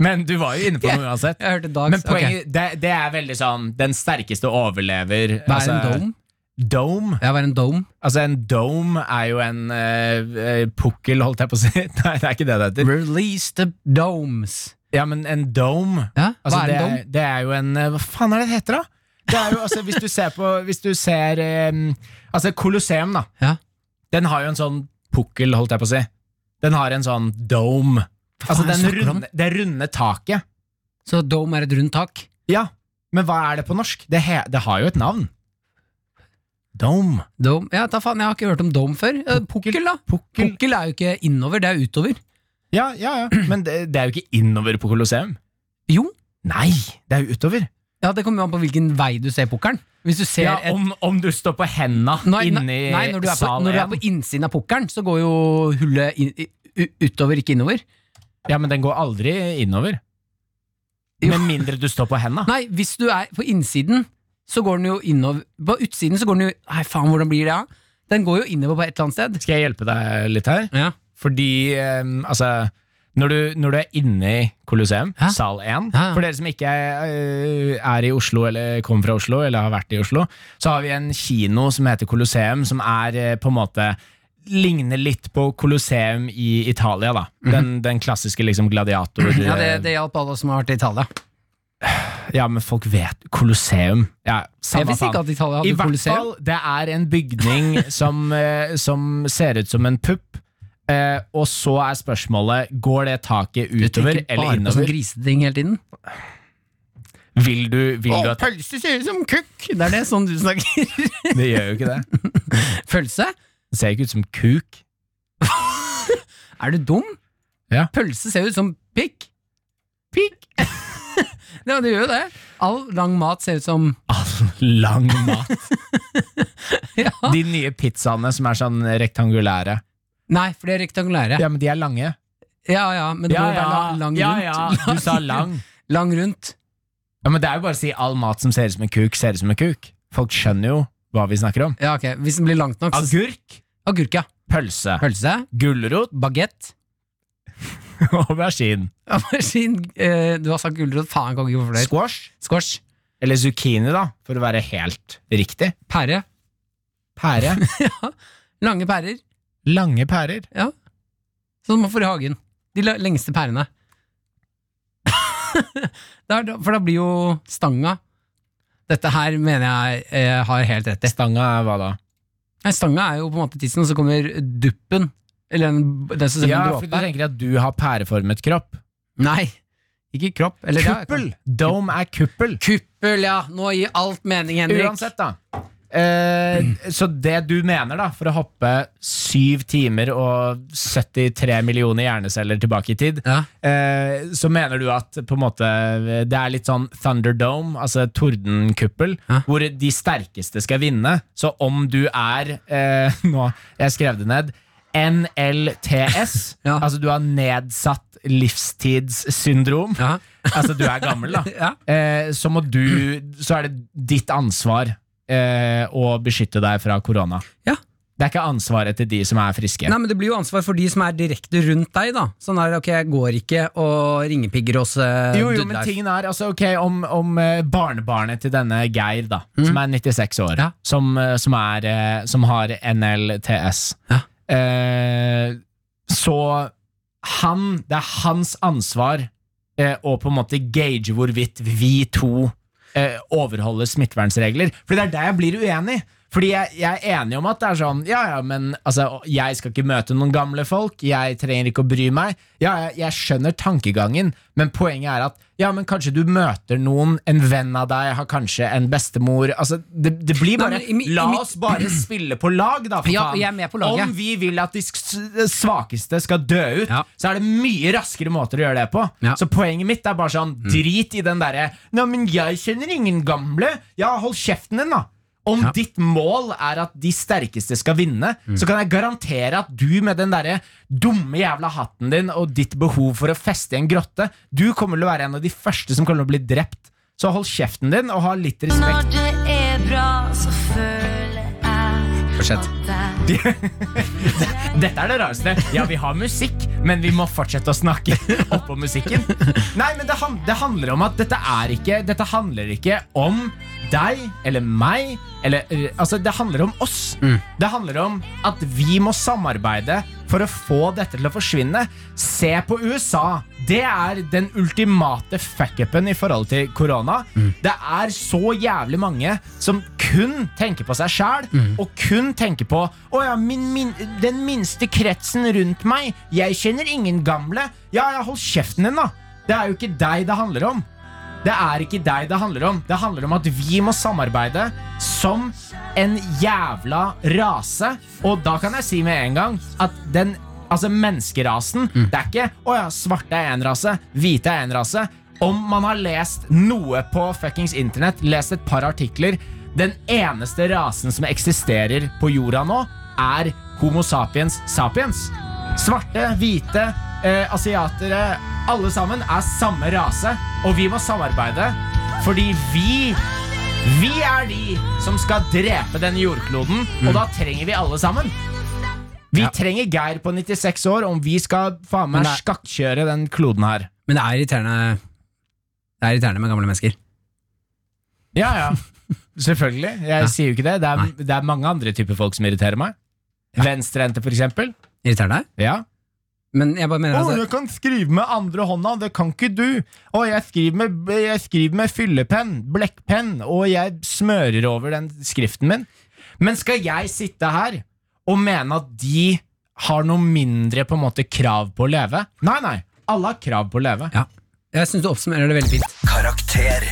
[SPEAKER 4] Men du var jo inne på noe uansett.
[SPEAKER 5] Jeg hørte dogs.
[SPEAKER 4] Men poenget, det, det er veldig sånn Den sterkeste overlever. altså,
[SPEAKER 5] Hva er en dome?
[SPEAKER 4] Dome?
[SPEAKER 5] Ja, hva er en dome?
[SPEAKER 4] Altså, en dome er jo en eh, eh, pukkel, holdt jeg på å si. Nei, det er ikke det det heter.
[SPEAKER 5] Release the domes.
[SPEAKER 4] Ja, men en dome
[SPEAKER 5] Ja, hva er
[SPEAKER 4] altså,
[SPEAKER 5] en
[SPEAKER 4] det,
[SPEAKER 5] dome?
[SPEAKER 4] Det er jo en eh, Hva faen er det det heter, da? Det er jo, altså, hvis du ser på Hvis du ser eh, Altså, Colosseum, da.
[SPEAKER 5] Ja.
[SPEAKER 4] Den har jo en sånn pukkel, holdt jeg på å si. Den har en sånn dome. Altså,
[SPEAKER 5] faen er det
[SPEAKER 4] den
[SPEAKER 5] du snakker om?
[SPEAKER 4] runde, det runde taket.
[SPEAKER 5] Så dome er et rundt tak?
[SPEAKER 4] Ja, men hva er det på norsk? Det, he det har jo et navn. Dome.
[SPEAKER 5] Dome? Ja, ta faen, jeg har ikke hørt om dome før. Eh, Pukkel, da. Pukkel. er jo ikke innover, det er utover.
[SPEAKER 4] Ja, ja, ja. Men det, det er jo ikke innover på Colosseum.
[SPEAKER 5] Jo.
[SPEAKER 4] Nei, det er jo utover.
[SPEAKER 5] Ja, Det kommer jo an på hvilken vei du ser pukkelen. Hvis du ser
[SPEAKER 4] Ja,
[SPEAKER 5] et
[SPEAKER 4] om, om du står på henda
[SPEAKER 5] Nei, nei,
[SPEAKER 4] inni
[SPEAKER 5] nei, når du er på,
[SPEAKER 4] sal
[SPEAKER 5] når du er
[SPEAKER 4] 1.
[SPEAKER 5] på innsiden av pukkelen, så går jo hullet inn, i- u- utover, ikke innover.
[SPEAKER 4] Ja, men den går aldri innover.
[SPEAKER 5] Jo.
[SPEAKER 4] Med mindre du står på henda.
[SPEAKER 5] Nei, hvis du er på innsiden, så går den jo innover. På utsiden så går den jo Nei, faen, hvordan blir det? da? Den går jo innover på et eller annet sted.
[SPEAKER 4] Skal jeg hjelpe deg litt her?
[SPEAKER 5] Ja.
[SPEAKER 4] Fordi eh, altså når du, når du er inne i Colosseum,
[SPEAKER 5] Hæ?
[SPEAKER 4] sal 1
[SPEAKER 5] Ja, ja.
[SPEAKER 4] For dere som ikke er, eh, er i Oslo eller kommer fra Oslo, eller har vært i Oslo, så har vi en kino som heter Colosseum, som er eh, på en måte Ligner litt på Colosseum i Italia, da. Den, den klassiske liksom gladiator...
[SPEAKER 5] Mhm. Ja, det, det hjalp alle som har vært i Italia.
[SPEAKER 4] Ja, men folk vet Colosseum. Ja,
[SPEAKER 5] Jeg
[SPEAKER 4] samme
[SPEAKER 5] visste ikke
[SPEAKER 4] faen.
[SPEAKER 5] at Italia
[SPEAKER 4] I
[SPEAKER 5] hadde
[SPEAKER 4] hvert
[SPEAKER 5] Colosseum.
[SPEAKER 4] fall, det er en bygning som, eh, som ser ut som en pupp. Eh, og så er spørsmålet Går det taket
[SPEAKER 5] Du
[SPEAKER 4] utover
[SPEAKER 5] tenker
[SPEAKER 4] eller
[SPEAKER 5] bare på sånn
[SPEAKER 4] innover.
[SPEAKER 5] griseting hele tiden.
[SPEAKER 4] Vil du, vil du
[SPEAKER 5] Å,
[SPEAKER 4] at
[SPEAKER 5] pølse ser ut som kukk! Det er det sånn du snakker.
[SPEAKER 4] Det gjør jo ikke det.
[SPEAKER 5] Pølse?
[SPEAKER 4] Det ser ikke ut som kuk.
[SPEAKER 5] Er du dum?
[SPEAKER 4] Ja.
[SPEAKER 5] Pølse ser jo ut som pikk. Pikk! ja, det gjør jo det. All lang mat ser ut som
[SPEAKER 4] Lang mat.
[SPEAKER 5] ja.
[SPEAKER 4] De nye pizzaene som er sånn rektangulære.
[SPEAKER 5] Nei, for de er rektangulære. Ja
[SPEAKER 4] Ja, men de er lange.
[SPEAKER 5] ja, men det må jo være lang, lang
[SPEAKER 4] ja,
[SPEAKER 5] rundt.
[SPEAKER 4] ja. Du sa lang.
[SPEAKER 5] Lang rundt.
[SPEAKER 4] Ja, men det er jo bare å si all mat som ser ut som en kuk, ser ut som en kuk. Folk skjønner jo hva vi snakker om.
[SPEAKER 5] Ja, ok. Hvis den blir langt nok, så
[SPEAKER 4] Agurk,
[SPEAKER 5] Agurk, ja.
[SPEAKER 4] pølse,
[SPEAKER 5] Pølse.
[SPEAKER 4] gulrot
[SPEAKER 5] Bagett.
[SPEAKER 4] aubergine,
[SPEAKER 5] Aubergine. Eh, du har sagt gulrot. Faen, jeg kan ikke hvorfor det.
[SPEAKER 4] squash
[SPEAKER 5] Squash.
[SPEAKER 4] eller zucchini, da, for å være helt riktig.
[SPEAKER 5] Pære.
[SPEAKER 4] Pære.
[SPEAKER 5] Lange pærer.
[SPEAKER 4] Lange pærer.
[SPEAKER 5] Ja. Sånn man får i hagen. De la- lengste pærene. Det er da- for da blir jo stanga Dette her mener jeg eh, har helt rett i.
[SPEAKER 4] Stanga er hva da?
[SPEAKER 5] Nei, Stanga er jo på en måte tissen, og så kommer duppen. Eller den, den som ser ut
[SPEAKER 4] Ja,
[SPEAKER 5] som
[SPEAKER 4] for
[SPEAKER 5] en
[SPEAKER 4] du
[SPEAKER 5] dråpe.
[SPEAKER 4] tenker at du har pæreformet kropp.
[SPEAKER 5] Nei, ikke kropp. Eller, ja,
[SPEAKER 4] Kuppel! Dome er kuppel.
[SPEAKER 5] Kuppel, ja! Nå gir alt mening, Henrik.
[SPEAKER 4] Uansett, da. Eh, så det du mener, da, for å hoppe syv timer og 73 millioner hjerneceller tilbake i tid,
[SPEAKER 5] Ja.
[SPEAKER 4] eh, så mener du at på en måte det er litt sånn Thunderdome, altså tordenkuppel,
[SPEAKER 5] Ja.
[SPEAKER 4] hvor de sterkeste skal vinne. Så om du er eh, Nå, jeg skrev det ned. NLTS,
[SPEAKER 5] Ja.
[SPEAKER 4] altså du har nedsatt livstidssyndrom.
[SPEAKER 5] Ja.
[SPEAKER 4] Altså du er gammel, da
[SPEAKER 5] Ja.
[SPEAKER 4] eh, så må du Så er det ditt ansvar eh, å beskytte deg fra korona.
[SPEAKER 5] Ja.
[SPEAKER 4] Det er ikke ansvaret til de som er friske.
[SPEAKER 5] Nei, men Det blir jo ansvar for de som er direkte rundt deg. da Sånn er det, ok, Jeg går ikke og ringepigger hos eh,
[SPEAKER 4] Jo, jo, men
[SPEAKER 5] Dudleif.
[SPEAKER 4] tingen er altså, ok, om, om eh, barnebarnet til denne Geir, da, som er 96 år,
[SPEAKER 5] Ja.
[SPEAKER 4] som, eh, som, er, eh, som har NLTS
[SPEAKER 5] Ja.
[SPEAKER 4] eh, Så han Det er hans ansvar eh, å på en måte gage hvorvidt vi to eh, overholder smittevernregler. For det er der jeg blir uenig. Fordi jeg, jeg er enig om at det er sånn Ja, ja, men altså, jeg skal ikke møte noen gamle folk. Jeg trenger ikke å bry meg. Ja, jeg, jeg skjønner tankegangen, men poenget er at ja, men kanskje du møter noen. En venn av deg har kanskje en bestemor. Altså, det, det blir
[SPEAKER 5] Nei,
[SPEAKER 4] bare
[SPEAKER 5] men i mi-
[SPEAKER 4] La
[SPEAKER 5] i mi-
[SPEAKER 4] oss bare spille på lag, da, for
[SPEAKER 5] Ja,
[SPEAKER 4] faen.
[SPEAKER 5] jeg er med på laget.
[SPEAKER 4] Om vi vil at de sk- svakeste skal dø ut,
[SPEAKER 5] Ja.
[SPEAKER 4] så er det mye raskere måter å gjøre det på.
[SPEAKER 5] Ja. Mm.
[SPEAKER 4] Så poenget mitt er bare sånn, drit i den derre Nei, men jeg kjenner ingen gamle. Ja, hold kjeften din, da. Om
[SPEAKER 5] Ja. Mm.
[SPEAKER 4] ditt mål er at de sterkeste skal vinne, så kan jeg garantere at du med den derre dumme jævla hatten din og ditt behov for å feste i en grotte, du kommer til å være en av de første som kommer til å bli drept. Så hold kjeften din, og ha litt respekt.
[SPEAKER 6] Når det er bra, så føler jeg
[SPEAKER 5] Fortsett.
[SPEAKER 6] at jeg
[SPEAKER 4] Dette er det rareste. Ja, vi har musikk, men vi må fortsette å snakke oppå musikken. Nei, men det, han, det handler om at dette er ikke Dette handler ikke om deg eller meg. Eller, eh, altså, det handler om oss. Det handler om at vi må samarbeide for å få dette til å forsvinne. Se på USA. Det er den ultimate fuckupen i forhold til korona. Det er så jævlig mange som kun tenker på seg sjæl, og kun tenker på Å ja, min, min, den minste kretsen rundt meg. Jeg kjenner ingen gamle. Ja, ja, hold kjeften din, da. Det er jo ikke deg det handler om. Det er ikke deg det handler om. Det handler om at vi må samarbeide som en jævla rase. Og da kan jeg si med en gang at den Altså menneskerasen Det er ikke 'Å ja, svarte er én rase, hvite er én rase'. Om man har lest noe på fuckings internett, lest et par artikler Den eneste rasen som eksisterer på jorda nå, er Homo sapiens sapiens. Svarte, hvite, eh, asiatere Alle sammen er samme rase, og vi må samarbeide. Fordi vi vi er de som skal drepe denne jordkloden, og da trenger vi alle sammen. Vi trenger Geir på 96 år om vi skal faen
[SPEAKER 5] Men
[SPEAKER 4] meg
[SPEAKER 5] det er-
[SPEAKER 4] skakkjøre den kloden her.
[SPEAKER 5] Men det er irriterende Det er irriterende med gamle mennesker.
[SPEAKER 4] Ja, ja. Selvfølgelig. Jeg sier jo ikke det. Det er, det er mange andre typer folk som irriterer meg. Venstrehendte, for eksempel.
[SPEAKER 5] Irriterende?
[SPEAKER 4] Ja.
[SPEAKER 5] Men jeg bare mener
[SPEAKER 4] Å,
[SPEAKER 5] altså,
[SPEAKER 4] jeg kan skrive med andre hånda, det kan ikke du. Å, jeg skriver med, jeg skriver med fyllepenn, blekkpenn, og jeg smører over den skriften min. Men skal jeg sitte her og mene at de har noe mindre på en måte krav på å leve? Nei, nei. Alle har krav på å leve.
[SPEAKER 5] ja. Jeg syns du oppsummerer det veldig fint.
[SPEAKER 2] Karakter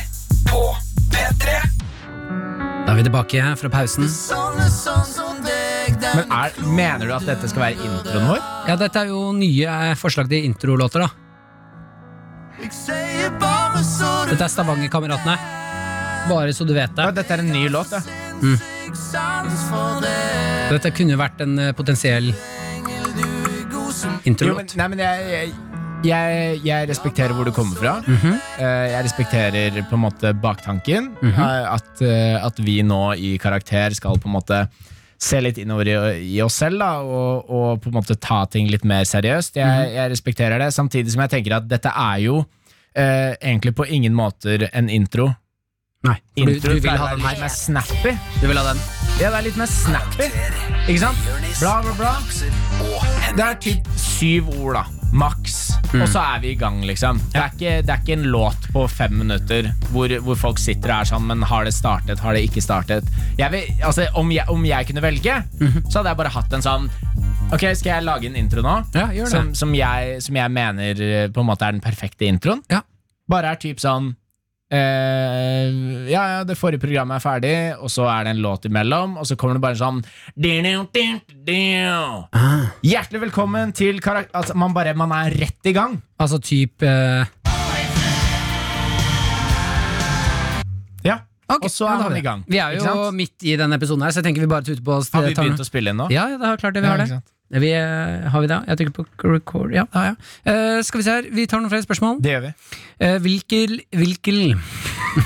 [SPEAKER 2] på P3.
[SPEAKER 5] Da er vi tilbake fra pausen.
[SPEAKER 4] Men er, mener du at dette skal være introen vår?
[SPEAKER 5] Ja, dette er jo nye eh, forslag til introlåter, da. Dette er Stavangerkameratene. Bare så du vet det.
[SPEAKER 4] Ja, dette er en ny låt, ja.
[SPEAKER 5] Dette kunne vært en eh, potensiell
[SPEAKER 4] Jo, men,
[SPEAKER 5] introlåt.
[SPEAKER 4] nei, men jeg, jeg, jeg, jeg respekterer hvor du kommer fra.
[SPEAKER 5] Mhm.
[SPEAKER 4] Eh, Jeg respekterer på en måte baktanken.
[SPEAKER 5] Mhm.
[SPEAKER 4] eh, At, eh, at vi nå i karakter skal på en måte se litt innover i, i oss selv da, og, og på en måte ta ting litt mer seriøst. Jeg,
[SPEAKER 5] Mhm.
[SPEAKER 4] jeg respekterer det, samtidig som jeg tenker at dette er jo eh, egentlig på ingen måter en intro.
[SPEAKER 5] Nei, for du,
[SPEAKER 4] Intro
[SPEAKER 5] du vil
[SPEAKER 4] pleier å
[SPEAKER 5] ha
[SPEAKER 4] være
[SPEAKER 5] den
[SPEAKER 4] litt
[SPEAKER 5] her.
[SPEAKER 4] mer snappy.
[SPEAKER 5] Du vil ha den.
[SPEAKER 4] Ja, det er litt mer snappy. Ikke sant? Bla, bla, bla.
[SPEAKER 2] Aksel og
[SPEAKER 4] Det
[SPEAKER 2] Henrik.
[SPEAKER 4] er typ syv ord, da. Maks.
[SPEAKER 5] Mm.
[SPEAKER 4] Og så er vi i gang, liksom. Det er ikke, det er ikke en låt på fem minutter hvor, hvor folk sitter og er sånn Men har det startet? Har det ikke startet? Jeg vil, altså, om, jeg, om jeg kunne velge,
[SPEAKER 5] Mhm.
[SPEAKER 4] så hadde jeg bare hatt en sånn Ok, skal jeg lage en intro nå?
[SPEAKER 5] Ja, gjør det.
[SPEAKER 4] Som, som, jeg, som jeg mener eh, på en måte er den perfekte introen.
[SPEAKER 5] Ja.
[SPEAKER 4] Bare er typ sånn Eh, ja, ja, det forrige programmet er ferdig, og så er det en låt imellom, og så kommer det bare sånn
[SPEAKER 5] Ah.
[SPEAKER 4] Hjertelig velkommen til karakter... Altså, man bare man er rett i gang.
[SPEAKER 5] Altså type eh,
[SPEAKER 4] Ja.
[SPEAKER 5] ok,
[SPEAKER 4] og så
[SPEAKER 5] ja,
[SPEAKER 4] er
[SPEAKER 5] da har
[SPEAKER 4] man
[SPEAKER 5] vi
[SPEAKER 4] i gang.
[SPEAKER 5] det. Vi er
[SPEAKER 4] Ikke
[SPEAKER 5] jo
[SPEAKER 4] sant?
[SPEAKER 5] midt i denne episoden her, så jeg tenker vi bare tuter på oss.
[SPEAKER 4] Har vi
[SPEAKER 5] tar med-
[SPEAKER 4] begynt å spille inn nå?
[SPEAKER 5] Ja, ja, det er klart det. Vi
[SPEAKER 4] Ja,
[SPEAKER 5] har
[SPEAKER 4] ikke
[SPEAKER 5] det.
[SPEAKER 4] sant.
[SPEAKER 5] Vi, eh, har vi det? Jeg trykker på record. Ja, det har jeg. Eh, skal vi se her, vi tar noen flere spørsmål.
[SPEAKER 4] Det gjør vi.
[SPEAKER 5] Eh, hvilke hvilke,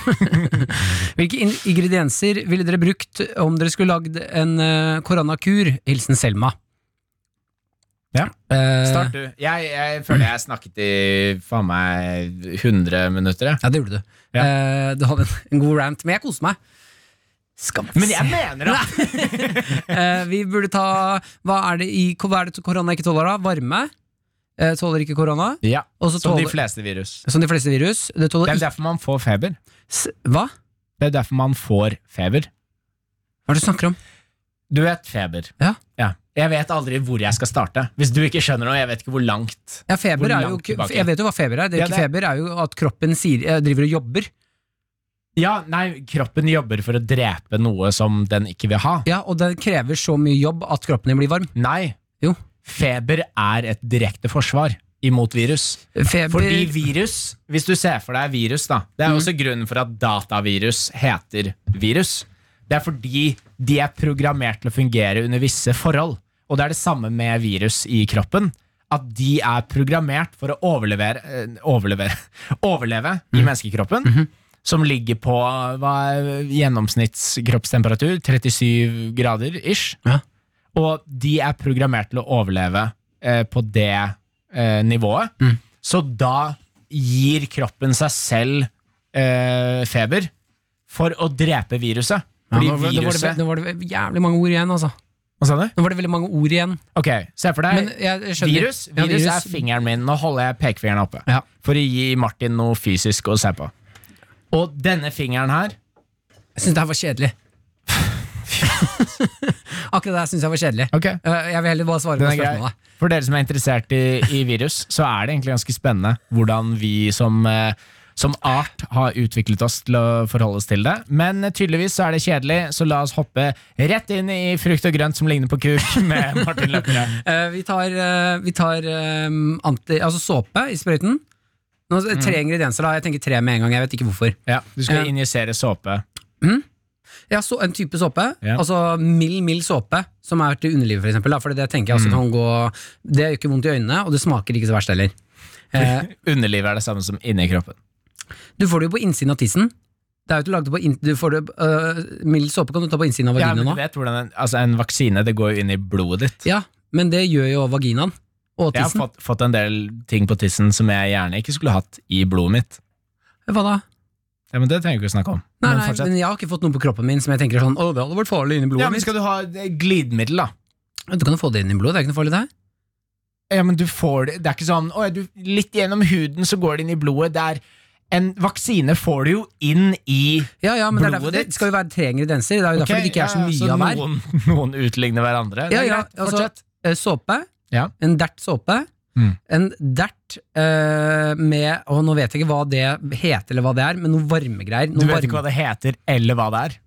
[SPEAKER 5] hvilke in ingredienser ville dere brukt om dere skulle lagd en eh, koronakur? Hilsen Selma.
[SPEAKER 4] Ja.
[SPEAKER 5] Eh,
[SPEAKER 4] Start, du. Jeg, jeg føler jeg snakket i faen meg 100 minutter. jeg.
[SPEAKER 5] Ja, det gjorde du.
[SPEAKER 4] Ja.
[SPEAKER 5] Eh, du hadde en, en god rant, men jeg koste meg. Skal vi
[SPEAKER 4] Men
[SPEAKER 5] se.
[SPEAKER 4] jeg mener at
[SPEAKER 5] Eh, vi burde ta Hva er det, i, hva er det korona ikke tåler, da? Varme. Eh, tåler ikke korona.
[SPEAKER 4] ja,
[SPEAKER 5] Og så
[SPEAKER 4] Som de
[SPEAKER 5] tåler-
[SPEAKER 4] fleste virus.
[SPEAKER 5] Som de fleste virus. Det
[SPEAKER 4] Det
[SPEAKER 5] tåler
[SPEAKER 4] er
[SPEAKER 5] ikke
[SPEAKER 4] derfor man får feber.
[SPEAKER 5] s- Hva?
[SPEAKER 4] Det er derfor man får feber.
[SPEAKER 5] Hva er det du snakker om?
[SPEAKER 4] Du vet feber.
[SPEAKER 5] Ja.
[SPEAKER 4] Jeg vet aldri hvor jeg skal starte. Hvis du ikke skjønner noe, jeg vet ikke hvor langt.
[SPEAKER 5] Ja,
[SPEAKER 4] Hvor
[SPEAKER 5] feber er jo,
[SPEAKER 4] langt
[SPEAKER 5] ikke-
[SPEAKER 4] tilbake?
[SPEAKER 5] jeg vet jo hva feber er. Det er jo
[SPEAKER 4] Ja,
[SPEAKER 5] ikke
[SPEAKER 4] det-
[SPEAKER 5] feber, er jo at kroppen sier, eh, driver og jobber.
[SPEAKER 4] Ja, nei, kroppen jobber for å drepe noe som den ikke vil ha.
[SPEAKER 5] Ja, Og det krever så mye jobb at kroppen din blir varm.
[SPEAKER 4] Nei.
[SPEAKER 5] Jo.
[SPEAKER 4] Feber er et direkte forsvar imot virus.
[SPEAKER 5] Feber Mhm.
[SPEAKER 4] Fordi virus, hvis du ser for deg virus, da Det er også grunnen for at datavirus heter virus. Det er fordi de er programmert til å fungere under visse forhold. Og det er det samme med virus i kroppen. At de er programmert for å overlevere, eh, overlevere overleve
[SPEAKER 5] Mhm.
[SPEAKER 4] i menneskekroppen. Som ligger på hva er gjennomsnittskroppstemperatur? 37 grader ish.
[SPEAKER 5] Ja.
[SPEAKER 4] Og de er programmert til å overleve eh, på det eh, nivået.
[SPEAKER 5] Mm.
[SPEAKER 4] Så da gir kroppen seg selv eh, feber for å drepe viruset.
[SPEAKER 5] Ja,
[SPEAKER 4] Fordi
[SPEAKER 5] nå, var- nå, var det,
[SPEAKER 4] viruset
[SPEAKER 5] nå var det jævlig mange ord igjen, altså.
[SPEAKER 4] Hva sa du?
[SPEAKER 5] Nå var det veldig mange ord igjen.
[SPEAKER 4] Ok, se for deg
[SPEAKER 5] Men jeg, jeg skjønner.
[SPEAKER 4] virus. Virus,
[SPEAKER 5] Ja,
[SPEAKER 4] er fingeren min. Nå holder jeg pekefingeren oppe.
[SPEAKER 5] Ja.
[SPEAKER 4] For å gi Martin noe fysisk å se på. Og denne fingeren her
[SPEAKER 5] Jeg syns det her var kjedelig. Akkurat det her syns jeg var kjedelig.
[SPEAKER 4] Ok,
[SPEAKER 5] Eh, Jeg vil heller bare svare
[SPEAKER 4] den
[SPEAKER 5] på
[SPEAKER 4] er grei.
[SPEAKER 5] spørsmålet.
[SPEAKER 4] For dere som er interessert i, i virus, så er det egentlig ganske spennende hvordan vi som, eh, som art har utviklet oss til å forholde oss til det. Men eh, tydeligvis så er det kjedelig, så la oss hoppe rett inn i frukt og grønt som ligner på kuk med Martin Løkkerød.
[SPEAKER 5] Eh, Vi tar, eh, vi tar eh, anti, altså såpe i sprøyten. Nå,
[SPEAKER 4] Mm.
[SPEAKER 5] tre ingredienser, da. Jeg tenker tre med en gang. Jeg vet ikke hvorfor.
[SPEAKER 4] Ja, du skal
[SPEAKER 5] Ja.
[SPEAKER 4] injisere såpe.
[SPEAKER 5] Ja, så, En type såpe.
[SPEAKER 4] Ja.
[SPEAKER 5] Altså mild, mild såpe som er til underlivet, for eksempel. da, For det tenker
[SPEAKER 4] Mm.
[SPEAKER 5] jeg også kan gå Det gjør ikke vondt i øynene, og det smaker ikke så verst heller. Eh,
[SPEAKER 4] Underlivet er det samme som inni kroppen.
[SPEAKER 5] du får det jo på innsiden av tissen. Det er jo ikke laget på inn, du får det, øh, Mild såpe kan du ta på innsiden av
[SPEAKER 4] Ja,
[SPEAKER 5] vaginaen
[SPEAKER 4] men du
[SPEAKER 5] òg.
[SPEAKER 4] vet hvordan en, altså en vaksine det går jo inn i blodet ditt.
[SPEAKER 5] Ja, men det gjør jo vaginaen. Og
[SPEAKER 4] Jeg har
[SPEAKER 5] tissen.
[SPEAKER 4] fått, fått en del ting på tissen som jeg gjerne ikke skulle hatt i blodet mitt.
[SPEAKER 5] Hva da?
[SPEAKER 4] Ja, men Det trenger vi ikke å snakke om.
[SPEAKER 5] Nei,
[SPEAKER 4] Men
[SPEAKER 5] nei,
[SPEAKER 4] fortsett.
[SPEAKER 5] men jeg har ikke fått noe på kroppen min som jeg tenker er sånn Å, det hadde vært farlig inni blodet
[SPEAKER 4] Ja, men
[SPEAKER 5] mitt.
[SPEAKER 4] Skal du ha eh, glidemiddel, da?
[SPEAKER 5] Du kan jo få det inn i blodet, det er ikke noe farlig det her.
[SPEAKER 4] Ja, men du får det Det er ikke sånn «Å, ja, du, Litt gjennom huden så går det inn i blodet. Det er en vaksine får du jo inn i
[SPEAKER 5] Ja, ja, men det, er
[SPEAKER 4] Blodet
[SPEAKER 5] derfor, det
[SPEAKER 4] ditt?
[SPEAKER 5] skal jo være tre ingredienser, det er jo derfor
[SPEAKER 4] Ok,
[SPEAKER 5] det ikke er så
[SPEAKER 4] ja,
[SPEAKER 5] mye av hver.
[SPEAKER 4] noen, noen utligner hverandre. Det
[SPEAKER 5] Ja,
[SPEAKER 4] er
[SPEAKER 5] ja,
[SPEAKER 4] greit.
[SPEAKER 5] altså,
[SPEAKER 4] Fortsett.
[SPEAKER 5] eh, såpe.
[SPEAKER 4] Ja.
[SPEAKER 5] En dert såpe.
[SPEAKER 4] Mm.
[SPEAKER 5] En dert eh, med Og nå vet jeg ikke hva det heter, eller hva det er, men noe varmegreier.
[SPEAKER 4] Du vet ikke hva det heter, eller hva det er.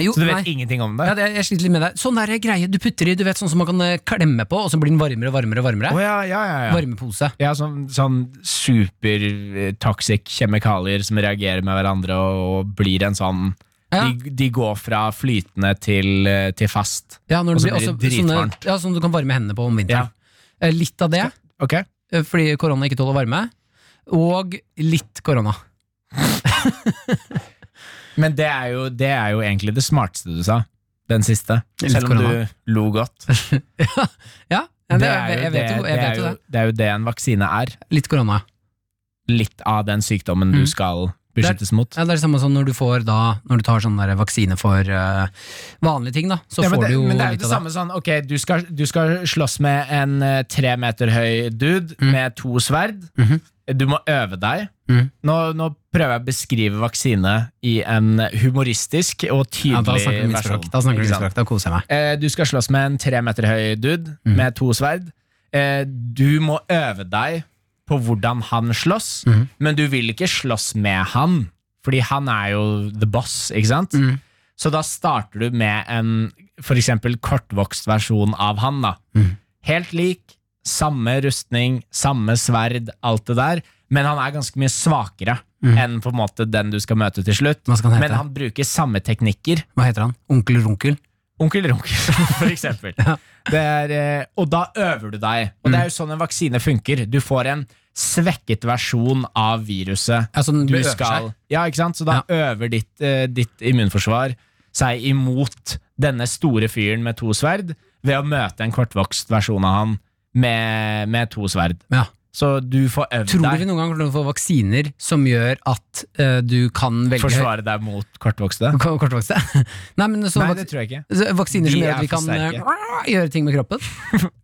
[SPEAKER 5] Jo,
[SPEAKER 4] Så du vet
[SPEAKER 5] nei.
[SPEAKER 4] ingenting om det.
[SPEAKER 5] Ja, det, jeg sliter litt med det. Sånn der greie du putter i, du vet, sånn som man kan eh, klemme på, og så blir den varmere og varmere. og varmere.
[SPEAKER 4] Å, ja, ja, ja, ja.
[SPEAKER 5] Varmepose.
[SPEAKER 4] Ja, sånn, sånn supertoxic kjemikalier som reagerer med hverandre og, og blir en sånn
[SPEAKER 5] Ja.
[SPEAKER 4] de, de går fra flytende til, eh, til fast.
[SPEAKER 5] Ja, når det
[SPEAKER 4] Og så
[SPEAKER 5] blir
[SPEAKER 4] blir
[SPEAKER 5] også,
[SPEAKER 4] det
[SPEAKER 5] sånne,
[SPEAKER 4] dritvarmt.
[SPEAKER 5] ja, som du kan varme hendene på om
[SPEAKER 4] Ja.
[SPEAKER 5] vinteren. Eh, Litt av det,
[SPEAKER 4] Ok?
[SPEAKER 5] eh, fordi korona ikke tåler varme. Og litt korona.
[SPEAKER 4] Men det er, jo, det er jo egentlig det smarteste du sa. Den siste.
[SPEAKER 5] Litt
[SPEAKER 4] Selv om
[SPEAKER 5] korona.
[SPEAKER 4] du lo godt.
[SPEAKER 5] Ja, ja det,
[SPEAKER 4] er
[SPEAKER 5] jeg,
[SPEAKER 4] jo
[SPEAKER 5] jeg vet jo jeg
[SPEAKER 4] det,
[SPEAKER 5] vet
[SPEAKER 4] er
[SPEAKER 5] jo
[SPEAKER 4] jo,
[SPEAKER 5] det.
[SPEAKER 4] det er jo det en vaksine er.
[SPEAKER 5] Litt korona, ja.
[SPEAKER 4] Litt av den sykdommen du
[SPEAKER 5] Mm.
[SPEAKER 4] skal beskyttes mot.
[SPEAKER 5] Ja, det er det samme som når du, får da, når du tar sånn der vaksine for eh, vanlige ting, da. Så
[SPEAKER 4] Ja, men,
[SPEAKER 5] får
[SPEAKER 4] det,
[SPEAKER 5] du jo
[SPEAKER 4] men det er jo
[SPEAKER 5] litt
[SPEAKER 4] det
[SPEAKER 5] av det.
[SPEAKER 4] samme sånn Ok, du skal, du skal slåss med en eh, tre meter høy dude med to sverd.
[SPEAKER 5] Mm. Mhm.
[SPEAKER 4] Du må øve deg.
[SPEAKER 5] Mhm.
[SPEAKER 4] Nå, nå prøver jeg å beskrive vaksine i en humoristisk og
[SPEAKER 5] Ja,
[SPEAKER 4] tydelig
[SPEAKER 5] da snakker vi mitt
[SPEAKER 4] versjon.
[SPEAKER 5] språk. Da snakker
[SPEAKER 4] Ikke
[SPEAKER 5] vi mitt
[SPEAKER 4] sant?
[SPEAKER 5] språk, da koser jeg meg.
[SPEAKER 4] Eh, Du skal slåss med en tre meter høy dude
[SPEAKER 5] Mhm.
[SPEAKER 4] med to sverd. Eh, Du må øve deg på hvordan han slåss,
[SPEAKER 5] Mhm.
[SPEAKER 4] men du vil ikke slåss med han, fordi han er jo the boss, ikke sant?
[SPEAKER 5] Mhm.
[SPEAKER 4] Så da starter du med en for eksempel kortvokst versjon av han, da.
[SPEAKER 5] Mhm.
[SPEAKER 4] Helt lik, samme rustning, samme sverd, alt det der, men han er ganske mye svakere enn på en måte den du skal møte til slutt.
[SPEAKER 5] Mhm. Hva skal han hete?
[SPEAKER 4] Men han bruker samme teknikker.
[SPEAKER 5] Hva heter han? Onkel Runkel?
[SPEAKER 4] Onkel Runkel, for eksempel. Det er, eh, og da øver du deg. Og det
[SPEAKER 5] Mm.
[SPEAKER 4] er jo sånn en vaksine funker. Du får en svekket versjon av viruset.
[SPEAKER 5] Ja, sånn så den
[SPEAKER 4] Du
[SPEAKER 5] øver seg.
[SPEAKER 4] skal, ja, ikke sant? Så da øver ditt, eh, ditt immunforsvar seg imot denne store fyren med to sverd ved å møte en kortvokst versjon av han med, med to sverd.
[SPEAKER 5] Ja.
[SPEAKER 4] Så du får øvd
[SPEAKER 5] Tror dere
[SPEAKER 4] deg.
[SPEAKER 5] noen gang kommer til å få vaksiner som gjør at eh, du kan velge
[SPEAKER 4] Forsvare deg mot kortvokste?
[SPEAKER 5] K- Kortvokste? Nei, men så
[SPEAKER 4] Nei,
[SPEAKER 5] vaks
[SPEAKER 4] det tror jeg ikke.
[SPEAKER 5] så Vaksiner som
[SPEAKER 4] De
[SPEAKER 5] gjør
[SPEAKER 4] er
[SPEAKER 5] at vi
[SPEAKER 4] for
[SPEAKER 5] kan eh, gjøre ting med kroppen?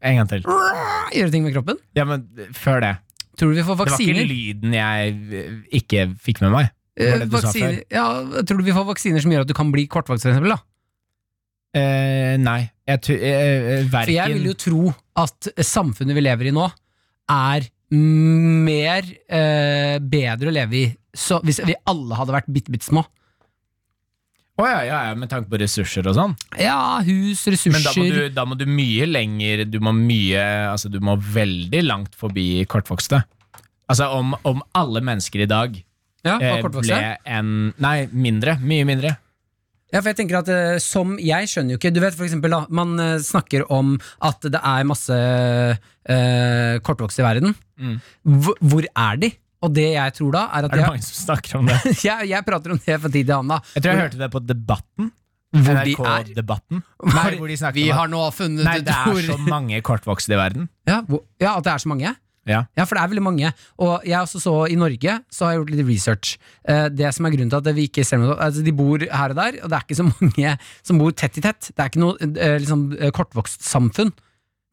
[SPEAKER 4] En gang til.
[SPEAKER 5] Gjøre ting med kroppen?
[SPEAKER 4] Ja, men før det.
[SPEAKER 5] Tror du vi får
[SPEAKER 4] Det var ikke
[SPEAKER 5] vaksiner?
[SPEAKER 4] lyden jeg eh, ikke fikk med meg. Det var
[SPEAKER 5] Eh,
[SPEAKER 4] det du sa
[SPEAKER 5] vaksiner ja, tror du vi får vaksiner som gjør at du kan bli kortvokst, for eksempel? Da?
[SPEAKER 4] Eh, Eh, nei. Jeg tu, eh, eh,
[SPEAKER 5] For jeg
[SPEAKER 4] verken
[SPEAKER 5] vil jo tro at samfunnet vi lever i nå, er mer eh, bedre å leve i så, hvis vi alle hadde vært bitte, bitte små.
[SPEAKER 4] Å ja, ja, ja, med tanke på ressurser og sånn.
[SPEAKER 5] Ja, hus,
[SPEAKER 4] Men da må, du,
[SPEAKER 5] ressurser
[SPEAKER 4] da må du mye lenger Du må mye Altså, du må veldig langt forbi kortvokste. Altså, om, om alle mennesker i dag
[SPEAKER 5] ja, og
[SPEAKER 4] eh, ble
[SPEAKER 5] kortvokste.
[SPEAKER 4] en Nei, mindre. Mye mindre.
[SPEAKER 5] Ja, for jeg tenker at eh, som Jeg skjønner jo ikke Du vet for eksempel da, man eh, snakker om at det er masse eh, kortvokste i verden.
[SPEAKER 4] Mm.
[SPEAKER 5] Hvor, hvor er de? Og det jeg tror da, er at
[SPEAKER 4] Er det
[SPEAKER 5] jeg,
[SPEAKER 4] mange som snakker om det?
[SPEAKER 5] jeg, jeg prater om det fra tid til annen. da.
[SPEAKER 4] Jeg tror jeg hørte det på Debatten.
[SPEAKER 5] Hvor de er.
[SPEAKER 4] NRK-debatten.
[SPEAKER 5] Nei,
[SPEAKER 4] hvor de snakker
[SPEAKER 5] Vi
[SPEAKER 4] om at-
[SPEAKER 5] har nå funnet
[SPEAKER 4] Nei, det
[SPEAKER 5] hvor-
[SPEAKER 4] er så mange kortvokste i verden.
[SPEAKER 5] Ja, hvor, ja, at det er så mange?
[SPEAKER 4] Ja.
[SPEAKER 5] for det er veldig mange. Og jeg også så i Norge så har jeg gjort litt research. Eh, det som er grunnen til at vi ikke ser noe altså De bor her og der, og det er ikke så mange som bor tett i tett. Det er ikke noe eh, liksom, eh, kortvokst samfunn.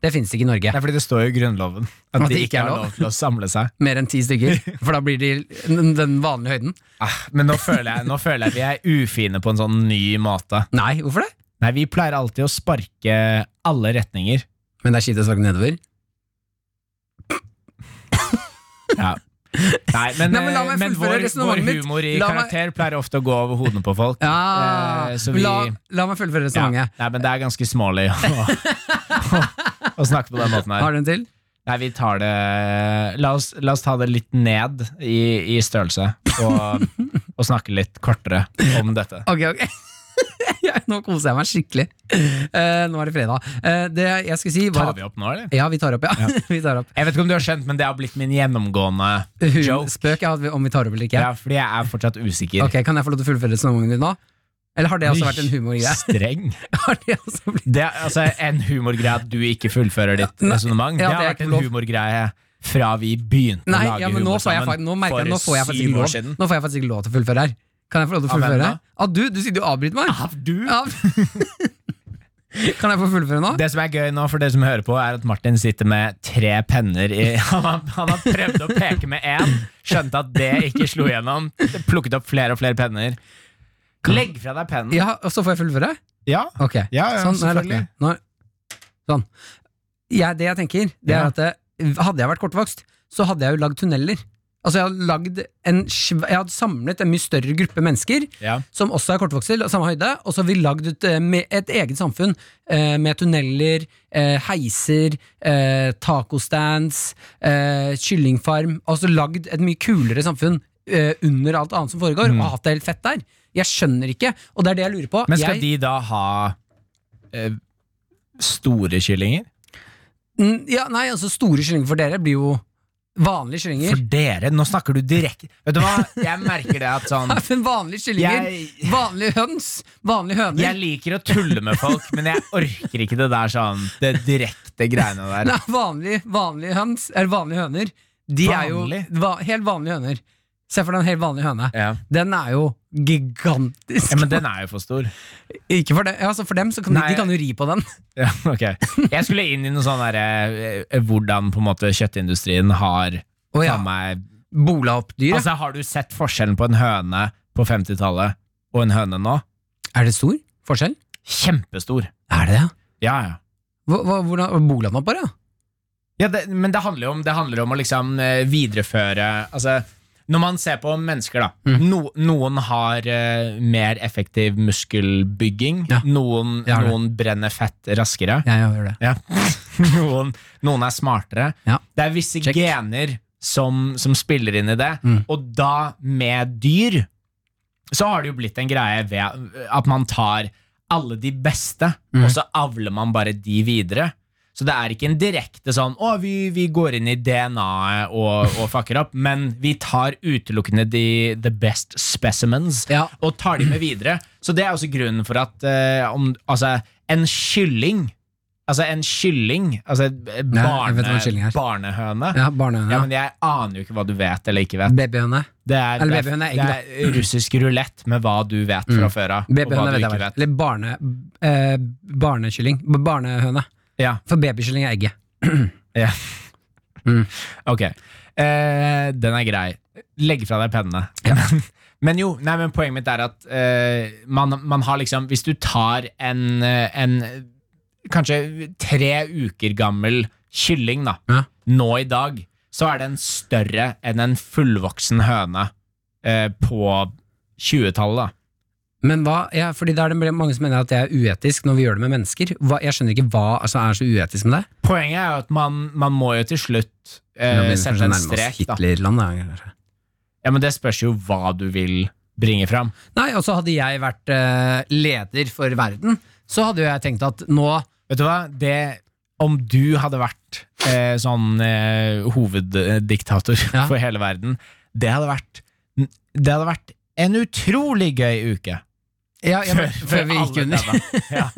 [SPEAKER 5] Det finnes ikke i Norge.
[SPEAKER 4] Det er fordi det står jo i Grunnloven at, de ikke har
[SPEAKER 5] er
[SPEAKER 4] lov til å samle seg.
[SPEAKER 5] Mer enn ti stykker. For da blir de den, den vanlige høyden.
[SPEAKER 4] Ah, men nå føler, jeg, nå føler jeg vi er ufine på en sånn ny måte.
[SPEAKER 5] Nei, hvorfor det?
[SPEAKER 4] Nei, vi pleier alltid å sparke alle retninger.
[SPEAKER 5] Men det er kjipt å snakke nedover.
[SPEAKER 4] Ja. Nei, men,
[SPEAKER 5] Nei, men la
[SPEAKER 4] eh,
[SPEAKER 5] meg fullføre
[SPEAKER 4] vår, vår
[SPEAKER 5] resonemanget mitt.
[SPEAKER 4] humor i
[SPEAKER 5] La meg-
[SPEAKER 4] karakter pleier ofte å gå over hodene på folk.
[SPEAKER 5] Ja, sånn,
[SPEAKER 4] Eh, så vi-
[SPEAKER 5] la, la meg fullføre
[SPEAKER 4] Ja.
[SPEAKER 5] resonnementet.
[SPEAKER 4] Nei, men det er ganske smålig å, å, å snakke på den måten her.
[SPEAKER 5] Har du en til?
[SPEAKER 4] Nei, vi tar det La oss, la oss ta det litt ned i, i størrelse, og, og snakke litt kortere om dette.
[SPEAKER 5] Ok, ok Jeg- Nå koser jeg meg skikkelig Eh, Nå er det fredag Eh, Det jeg skulle si var
[SPEAKER 4] Tar
[SPEAKER 5] at
[SPEAKER 4] vi opp nå, eller?
[SPEAKER 5] ja, vi tar opp, ja. vi tar opp.
[SPEAKER 4] Jeg vet ikke om du har skjønt, men det har blitt min gjennomgående
[SPEAKER 5] Hun,
[SPEAKER 4] joke.
[SPEAKER 5] spøk ja, om vi tar opp eller ikke.
[SPEAKER 4] Ja, fordi jeg er fortsatt usikker.
[SPEAKER 5] Ok, Kan jeg få lov til å fullføre resonnementet ditt nå? Eller har det også
[SPEAKER 4] Oi,
[SPEAKER 5] vært en humorgreie?
[SPEAKER 4] Streng.
[SPEAKER 5] Har det også blitt-
[SPEAKER 4] Det er, altså, en humorgreie at du ikke fullfører ditt
[SPEAKER 5] nei, ja,
[SPEAKER 4] resonnement. det har
[SPEAKER 5] det er
[SPEAKER 4] vært
[SPEAKER 5] ikke
[SPEAKER 4] en
[SPEAKER 5] lov.
[SPEAKER 4] humorgreie fra vi begynte å
[SPEAKER 5] Nei,
[SPEAKER 4] lage
[SPEAKER 5] ja, men nå
[SPEAKER 4] humor
[SPEAKER 5] får jeg, fakt-
[SPEAKER 4] sammen
[SPEAKER 5] nå merker jeg, nå får jeg
[SPEAKER 4] for
[SPEAKER 5] faktisk ikke
[SPEAKER 4] syv
[SPEAKER 5] lov
[SPEAKER 4] år siden.
[SPEAKER 5] Nå får jeg faktisk ikke lov til å fullføre her. Kan jeg få lov til å
[SPEAKER 4] Av hvem
[SPEAKER 5] fullføre?
[SPEAKER 4] da?
[SPEAKER 5] Ah, du, du sier du avbryter meg!
[SPEAKER 4] Du?
[SPEAKER 5] Ja. kan jeg få fullføre nå?
[SPEAKER 4] Det som er gøy nå for dere som hører på, er at Martin sitter med tre penner i Han har, han har prøvd å peke med én, skjønte at det ikke slo gjennom. Plukket opp flere og flere penner. Legg fra deg pennen.
[SPEAKER 5] Ja, Og så får jeg fullføre?
[SPEAKER 4] Ja.
[SPEAKER 5] Ok,
[SPEAKER 4] Ja, ja,
[SPEAKER 5] sånn, nå har jeg lagt ned.
[SPEAKER 4] selvfølgelig.
[SPEAKER 5] Nå har- Sånn. Jeg, det jeg tenker, det
[SPEAKER 4] Ja.
[SPEAKER 5] er at eh, hadde jeg vært kortvokst, så hadde jeg jo lagd tunneler. Altså Jeg hadde, lagd en, sv- jeg hadde samlet en mye større gruppe mennesker
[SPEAKER 4] Ja.
[SPEAKER 5] som også er kortvokste, la- samme høyde, og så har vi lagd et, eh, med- et eget samfunn eh, med tunneler, eh, heiser, eh, tacostands, eh, kyllingfarm. Altså lagd et mye kulere samfunn eh, under alt annet som foregår, og hatt det helt fett der. Jeg skjønner ikke, og det er det jeg lurer på.
[SPEAKER 4] Mm. Men skal
[SPEAKER 5] jeg,
[SPEAKER 4] de da ha eh, store kyllinger?
[SPEAKER 5] Mm, Ja, nei, altså store kyllinger for dere blir jo vanlige kyllinger.
[SPEAKER 4] For dere? Nå snakker du direkte Vet du hva, jeg merker det at sånn
[SPEAKER 5] Men vanlige kyllinger,
[SPEAKER 4] Jeg-
[SPEAKER 5] vanlige høns, vanlige høner.
[SPEAKER 4] Jeg liker å tulle med folk, men jeg orker ikke det der sånn Det direkte greiene der.
[SPEAKER 5] Nei, vanlige, vanlige høns, eller vanlige høner. De
[SPEAKER 4] Vanlig?
[SPEAKER 5] er jo va helt vanlige høner. Se for deg en helt vanlig høne.
[SPEAKER 4] Ja.
[SPEAKER 5] Den er jo gigantisk.
[SPEAKER 4] ja, Men den er jo for stor.
[SPEAKER 5] Ikke for, det, ja, altså for dem, så kan de,
[SPEAKER 4] Nei.
[SPEAKER 5] de kan jo ri på den.
[SPEAKER 4] Ja, ok Jeg skulle inn i noe sånn der eh, Hvordan på en måte kjøttindustrien har
[SPEAKER 5] Å ja,
[SPEAKER 4] faen meg,
[SPEAKER 5] Bola opp dyr.
[SPEAKER 4] Altså Har du sett forskjellen på en høne på 50-tallet og en høne nå?
[SPEAKER 5] Er det stor forskjell?
[SPEAKER 4] Kjempestor.
[SPEAKER 5] Er det det?
[SPEAKER 4] Ja, ja.
[SPEAKER 5] Hva, hva, hvordan, bola den opp bare?
[SPEAKER 4] ja det, men det handler jo om, det handler om å liksom eh, videreføre Altså når man ser på mennesker, da.
[SPEAKER 5] Mm.
[SPEAKER 4] No, noen har eh, mer effektiv muskelbygging.
[SPEAKER 5] Ja.
[SPEAKER 4] Noen,
[SPEAKER 5] Det har det.
[SPEAKER 4] noen brenner fett raskere.
[SPEAKER 5] Ja, jeg hører det.
[SPEAKER 4] Ja. Noen, noen er smartere.
[SPEAKER 5] Ja.
[SPEAKER 4] Det er visse
[SPEAKER 5] Check.
[SPEAKER 4] gener som, som spiller inn i det.
[SPEAKER 5] Mm.
[SPEAKER 4] Og da, med dyr, så har det jo blitt en greie ved at man tar alle de beste,
[SPEAKER 5] Mm.
[SPEAKER 4] og så avler man bare de videre. Så det er ikke en direkte sånn 'Å, vi, vi går inn i DNA-et og, og fucker opp', men vi tar utelukkende de the best specimens
[SPEAKER 5] Ja.
[SPEAKER 4] og tar de med videre. Så det er også grunnen for at eh, om, altså, en kylling Altså en kylling Altså et
[SPEAKER 5] jeg vet hva
[SPEAKER 4] barne,
[SPEAKER 5] en kylling er.
[SPEAKER 4] barnehøne ja.
[SPEAKER 5] Ja, Barnehøne.
[SPEAKER 4] men jeg aner jo ikke hva du vet eller ikke vet.
[SPEAKER 5] Babyhøne.
[SPEAKER 4] Det er,
[SPEAKER 5] Eller
[SPEAKER 4] det
[SPEAKER 5] babyhøne er egg,
[SPEAKER 4] er, det er russisk rulett med hva du vet fra før av. Og hva
[SPEAKER 5] Babyhøne
[SPEAKER 4] du
[SPEAKER 5] vet jeg
[SPEAKER 4] ikke
[SPEAKER 5] hva er.
[SPEAKER 4] vet.
[SPEAKER 5] Eller barne, eh, barnekylling. B- Barnehøne.
[SPEAKER 4] Ja,
[SPEAKER 5] For babykylling er egget.
[SPEAKER 4] ja.
[SPEAKER 5] Mm.
[SPEAKER 4] Ok. Eh, den er grei. Legg fra deg pennene. Men, men jo, nei, men poenget mitt er at eh, man, man har liksom Hvis du tar en, eh, en kanskje tre uker gammel kylling da,
[SPEAKER 5] Ja.
[SPEAKER 4] nå i dag, så er den større enn en fullvoksen høne eh, på 20-tallet. da.
[SPEAKER 5] Men hva, ja, fordi det er det mange som mener at det er uetisk når vi gjør det med mennesker. Hva, jeg skjønner ikke hva altså, er så uetisk med det.
[SPEAKER 4] Poenget er jo at man, man må jo til slutt
[SPEAKER 5] Nå
[SPEAKER 4] eh,
[SPEAKER 5] begynner vi kanskje
[SPEAKER 4] sette
[SPEAKER 5] å
[SPEAKER 4] en
[SPEAKER 5] nærme oss
[SPEAKER 4] strek. Da.
[SPEAKER 5] Hitlerland, da, kanskje.
[SPEAKER 4] Ja, men det spørs jo hva du vil bringe fram.
[SPEAKER 5] Nei, og så hadde jeg vært eh, leder for verden, så hadde jo jeg tenkt at nå
[SPEAKER 4] Vet du hva? Det, om du hadde vært eh, sånn eh, hoveddiktator
[SPEAKER 5] Ja.
[SPEAKER 4] for hele verden, det hadde vært Det hadde vært en utrolig gøy uke.
[SPEAKER 5] ja, ja, men-
[SPEAKER 4] For- for
[SPEAKER 5] Før vi gikk
[SPEAKER 4] alle
[SPEAKER 5] under.
[SPEAKER 4] denne. Ja.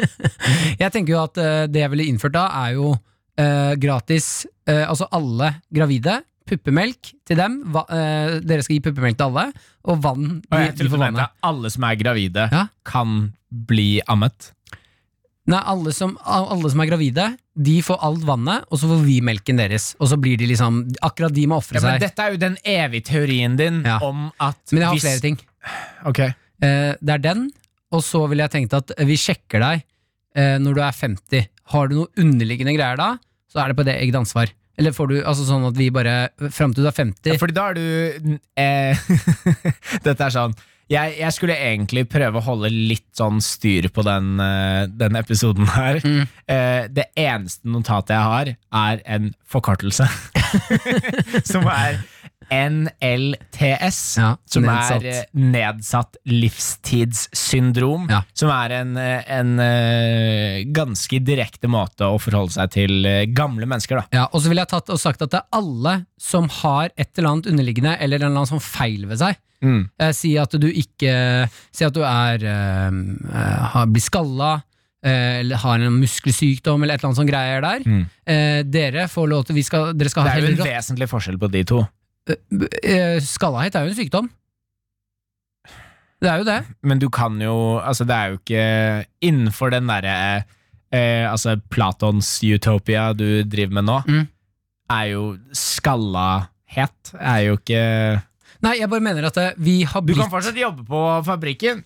[SPEAKER 5] Jeg tenker jo at eh, det jeg ville innført da, er jo eh, gratis eh, Altså alle gravide. Puppemelk til dem. Va, eh, dere skal gi puppemelk til alle. Og vann.
[SPEAKER 4] Og
[SPEAKER 5] De,
[SPEAKER 4] jeg
[SPEAKER 5] de
[SPEAKER 4] tror
[SPEAKER 5] får
[SPEAKER 4] det
[SPEAKER 5] vannet.
[SPEAKER 4] at alle som er gravide,
[SPEAKER 5] Ja.
[SPEAKER 4] kan bli ammet.
[SPEAKER 5] Nei, alle som, alle som er gravide, de får alt vannet, og så får vi melken deres. Og så blir de liksom Akkurat de må ofre
[SPEAKER 4] Ja, men
[SPEAKER 5] seg.
[SPEAKER 4] dette er jo den evige teorien din
[SPEAKER 5] Ja.
[SPEAKER 4] om at
[SPEAKER 5] Men jeg har
[SPEAKER 4] hvis-
[SPEAKER 5] flere ting.
[SPEAKER 4] Ok.
[SPEAKER 5] Eh, det er den, og så ville jeg tenkt at vi sjekker deg eh, når du er 50. Har du noe underliggende greier da, så er det på det eget ansvar. Eller får du altså sånn at vi bare Fram til du er 50
[SPEAKER 4] Fordi da er du eh, Dette er sånn jeg, jeg skulle egentlig prøve å holde litt sånn styr på den, eh, denne episoden her.
[SPEAKER 5] Mm.
[SPEAKER 4] Eh, det eneste notatet jeg har, er en forkortelse. som er NLTS,
[SPEAKER 5] Ja,
[SPEAKER 4] som
[SPEAKER 5] nedsatt.
[SPEAKER 4] er eh, nedsatt livstidssyndrom.
[SPEAKER 5] Ja.
[SPEAKER 4] Som er en, eh, en eh, ganske direkte måte å forholde seg til eh, gamle mennesker, da.
[SPEAKER 5] Ja, og så ville jeg tatt og sagt at det er alle som har et eller annet underliggende, eller en eller annen sånn feil ved seg.
[SPEAKER 4] Mm,
[SPEAKER 5] Eh, si at du ikke Si at du er eh, eh, har, blir skalla, eh, eller har en muskelsykdom, eller et eller annet sånn greier der.
[SPEAKER 4] Mm.
[SPEAKER 5] Eh, dere får lov til vi skal, Dere skal
[SPEAKER 4] Det
[SPEAKER 5] ha
[SPEAKER 4] er jo
[SPEAKER 5] helt
[SPEAKER 4] en vesentlig forskjell på de to.
[SPEAKER 5] Eh, Skallahet er jo en sykdom. Det er jo det.
[SPEAKER 4] Men du kan jo Altså, det er jo ikke innenfor den derre eh, Altså, Platons utopia du driver med nå,
[SPEAKER 5] Mm.
[SPEAKER 4] er jo skallahet. Er jo ikke
[SPEAKER 5] Nei, jeg bare mener at eh, vi har
[SPEAKER 4] Du
[SPEAKER 5] blitt
[SPEAKER 4] kan fortsatt jobbe på fabrikken.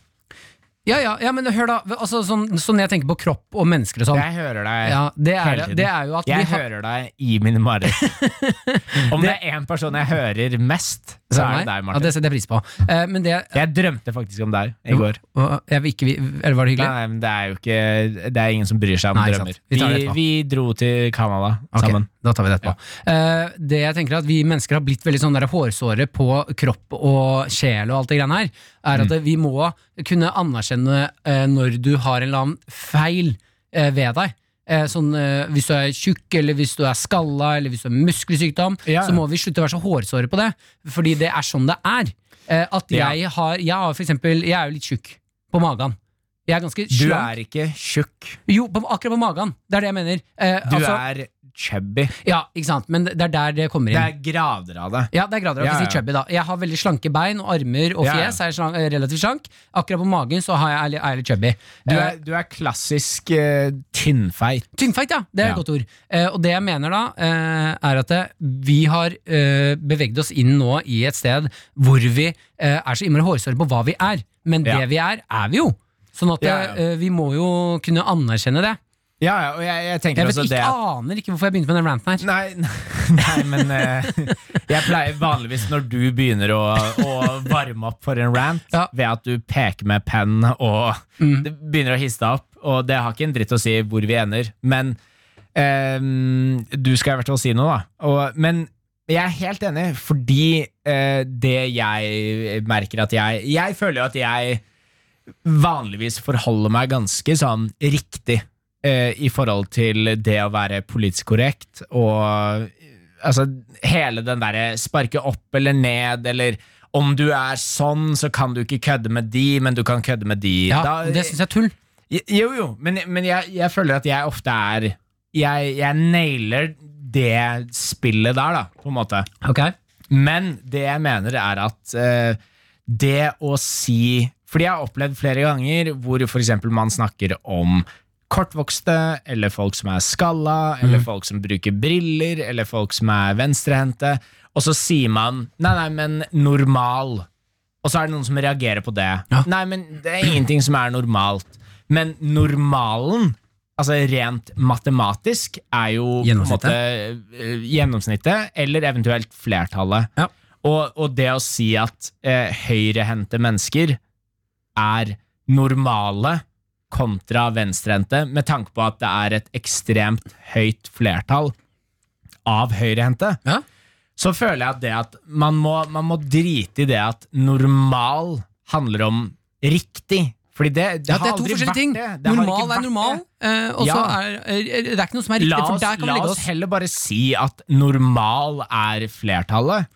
[SPEAKER 5] ja, ja, ja, men hør da. Altså, sånn, sånn jeg tenker på kropp og mennesker og sånn.
[SPEAKER 4] Jeg hører deg.
[SPEAKER 5] Ja, det, er,
[SPEAKER 4] hele tiden.
[SPEAKER 5] det er jo at vi
[SPEAKER 4] Jeg
[SPEAKER 5] har
[SPEAKER 4] hører deg i mine mareritt. Om det er én person jeg hører mest, så er det deg,
[SPEAKER 5] Ja,
[SPEAKER 4] Martin.
[SPEAKER 5] det setter jeg pris på. Eh, men det
[SPEAKER 4] Jeg drømte faktisk om deg i går.
[SPEAKER 5] Åh, jeg vil ikke, vi- Eller var det
[SPEAKER 4] Nei,
[SPEAKER 5] hyggelig?
[SPEAKER 4] nei, men det er jo ikke Det er ingen som bryr seg om
[SPEAKER 5] Nei, ikke
[SPEAKER 4] drømmer.
[SPEAKER 5] sant. Vi
[SPEAKER 4] Vi,
[SPEAKER 5] tar det
[SPEAKER 4] vi,
[SPEAKER 5] etterpå.
[SPEAKER 4] dro til Canada
[SPEAKER 5] Ok,
[SPEAKER 4] sammen.
[SPEAKER 5] da tar vi det etterpå. Eh, det jeg tenker er at Vi mennesker har blitt veldig sånn der hårsåre på kropp og sjel og alt det greiene her. Er at
[SPEAKER 4] Mm.
[SPEAKER 5] eh, vi må kunne anerkjenne eh, når du har en eller annen feil eh, ved deg. Eh, sånn, eh, hvis du er tjukk, eller hvis du er skalla, eller hvis du har muskelsykdom,
[SPEAKER 4] Ja, ja.
[SPEAKER 5] så må vi slutte å være så hårsåre på det. Fordi det er sånn det er. Eh, at
[SPEAKER 4] Ja.
[SPEAKER 5] jeg har, jeg har for eksempel, jeg er jo litt tjukk på magen. Jeg er ganske
[SPEAKER 4] Du
[SPEAKER 5] slank.
[SPEAKER 4] er ikke tjukk.
[SPEAKER 5] Jo, på, akkurat på magen. Det er det jeg mener. Eh,
[SPEAKER 4] Du
[SPEAKER 5] altså,
[SPEAKER 4] er chubby.
[SPEAKER 5] Ja, ikke sant, men det er der det kommer
[SPEAKER 4] Det
[SPEAKER 5] inn.
[SPEAKER 4] er grader av det.
[SPEAKER 5] ja, det er grader av
[SPEAKER 4] Ja,
[SPEAKER 5] å
[SPEAKER 4] ja.
[SPEAKER 5] si chubby, da. Jeg har veldig slanke bein og armer og
[SPEAKER 4] Ja, ja.
[SPEAKER 5] fjes. Er slank, eh, relativt slank. Akkurat på magen så har jeg, er jeg- er jeg litt chubby.
[SPEAKER 4] Du
[SPEAKER 5] Eh,
[SPEAKER 4] er, du er klassisk eh, tynnfeit.
[SPEAKER 5] Tynnfeit, ja. Det er et
[SPEAKER 4] Ja.
[SPEAKER 5] godt ord. Eh, og det jeg mener da, eh, er at eh, vi har eh, beveget oss inn nå i et sted hvor vi eh, er så innmari hårsåre på hva vi er. Men det
[SPEAKER 4] Ja.
[SPEAKER 5] vi er, er vi jo. Sånn at
[SPEAKER 4] Ja, ja.
[SPEAKER 5] eh, vi må jo kunne anerkjenne det.
[SPEAKER 4] Ja, ja, og jeg, jeg tenker
[SPEAKER 5] Jeg vet
[SPEAKER 4] også
[SPEAKER 5] ikke,
[SPEAKER 4] altså, det at-
[SPEAKER 5] aner ikke hvorfor jeg begynte med den ranten her.
[SPEAKER 4] Nei, nei, men eh, jeg pleier vanligvis når du begynner å, å varme opp for en rant,
[SPEAKER 5] Ja. Mm.
[SPEAKER 4] ved at du peker med penn og det begynner å hisse deg opp, og det har ikke en dritt å si hvor vi ender, men ehm, du skal i hvert fall si noe, da. Og, men jeg er helt enig, fordi eh, det jeg merker at jeg Jeg føler jo at jeg vanligvis forholder meg ganske sånn riktig eh, i forhold til det å være politisk korrekt og eh, altså hele den derre sparke opp eller ned eller om du er sånn, så kan du ikke kødde med de, men du kan kødde med de.
[SPEAKER 5] Ja,
[SPEAKER 4] Da- eh,
[SPEAKER 5] det syns jeg er tull.
[SPEAKER 4] jo, jo, men, men jeg, jeg føler at jeg ofte er Jeg, jeg nailer det spillet der, da, på en måte.
[SPEAKER 5] Ok.
[SPEAKER 4] Men det jeg mener er at eh, det å si Fordi jeg har opplevd flere ganger hvor for eksempel man snakker om kortvokste, eller folk som er skalla, eller folk som bruker briller, eller folk som er venstrehendte, og så sier man nei, nei, men normal. Og så er det noen som reagerer på det.
[SPEAKER 5] Ja.
[SPEAKER 4] Nei, men det er ingenting som er normalt. Men normalen, altså rent matematisk, er jo på en
[SPEAKER 5] Gjennomsnittet.
[SPEAKER 4] måte, eh, gjennomsnittet eller eventuelt flertallet.
[SPEAKER 5] Ja.
[SPEAKER 4] Og, og det å si at eh, høyrehendte mennesker er normale kontra venstrehendte, med tanke på at det er et ekstremt høyt flertall av høyrehendte,
[SPEAKER 5] Ja.
[SPEAKER 4] så føler jeg at det at man må, man må drite i det at normal handler om riktig. Fordi det, det
[SPEAKER 5] Ja, det
[SPEAKER 4] har
[SPEAKER 5] er to
[SPEAKER 4] aldri
[SPEAKER 5] forskjellige
[SPEAKER 4] vært
[SPEAKER 5] ting.
[SPEAKER 4] det. Det har ikke
[SPEAKER 5] Normal
[SPEAKER 4] vært
[SPEAKER 5] er
[SPEAKER 4] det.
[SPEAKER 5] normal, eh, og så
[SPEAKER 4] Ja.
[SPEAKER 5] er er- Det er ikke noe som er riktig,
[SPEAKER 4] La
[SPEAKER 5] for
[SPEAKER 4] oss,
[SPEAKER 5] der kan vi
[SPEAKER 4] la
[SPEAKER 5] legge
[SPEAKER 4] oss
[SPEAKER 5] oss.
[SPEAKER 4] heller bare si at normal er flertallet.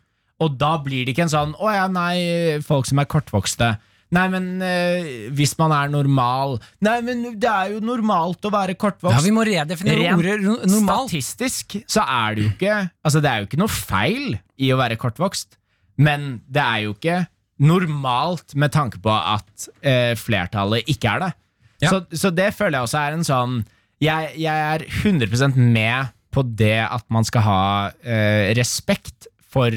[SPEAKER 4] Og da blir det ikke en sånn 'Å ja, nei, folk som er kortvokste'. Nei, men eh, hvis man er normal Nei, men det er jo normalt å være kortvokst.
[SPEAKER 5] Ja, vi må redefinere
[SPEAKER 4] Rent
[SPEAKER 5] ordet ro- normal.
[SPEAKER 4] Statistisk så er det jo ikke Altså det er jo ikke noe feil i å være kortvokst, men det er jo ikke normalt med tanke på at eh, flertallet ikke er det.
[SPEAKER 5] Ja.
[SPEAKER 4] Så, så det føler jeg også er en sånn Jeg, jeg er 100 med på det at man skal ha eh, respekt for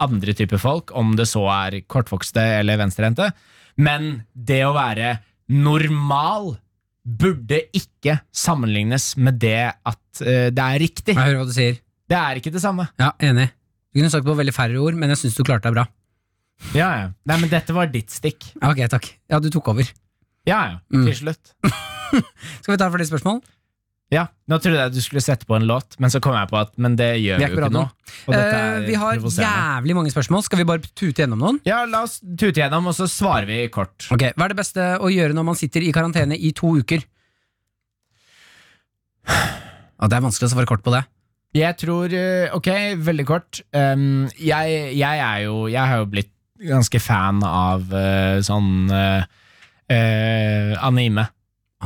[SPEAKER 4] andre typer folk, om det så er kortvokste eller venstrehendte, men det å være normal burde ikke sammenlignes med det at eh, det er riktig.
[SPEAKER 5] Jeg hører hva du sier.
[SPEAKER 4] Det er ikke det samme.
[SPEAKER 5] Ja, Enig. Du kunne sagt det på veldig færre ord, men jeg syns du klarte deg bra.
[SPEAKER 4] Ja, ja. Nei, men dette var ditt stikk.
[SPEAKER 5] Ja, Ok, takk. Ja, du tok over.
[SPEAKER 4] Ja, ja.
[SPEAKER 5] Mm.
[SPEAKER 4] Til slutt.
[SPEAKER 5] Skal vi ta flere spørsmål?
[SPEAKER 4] Ja, Nå trodde jeg du skulle sette på en låt, men så kom jeg på at Men det gjør
[SPEAKER 5] Vi er
[SPEAKER 4] vi jo
[SPEAKER 5] ikke på
[SPEAKER 4] ikke nå.
[SPEAKER 5] radioen.
[SPEAKER 4] Og dette
[SPEAKER 5] Eh,
[SPEAKER 4] er
[SPEAKER 5] vi har
[SPEAKER 4] provoserende.
[SPEAKER 5] jævlig mange spørsmål. Skal vi bare tute gjennom noen?
[SPEAKER 4] Ja, la oss tute gjennom, og så svarer vi kort.
[SPEAKER 5] Ok, Hva er det beste å gjøre når man sitter i karantene i to uker? Ja, det er vanskelig å svare kort på det.
[SPEAKER 4] Jeg tror eh, Ok, veldig kort. Um, jeg, jeg er jo Jeg har jo blitt ganske fan av eh, sånn eh, eh, anime.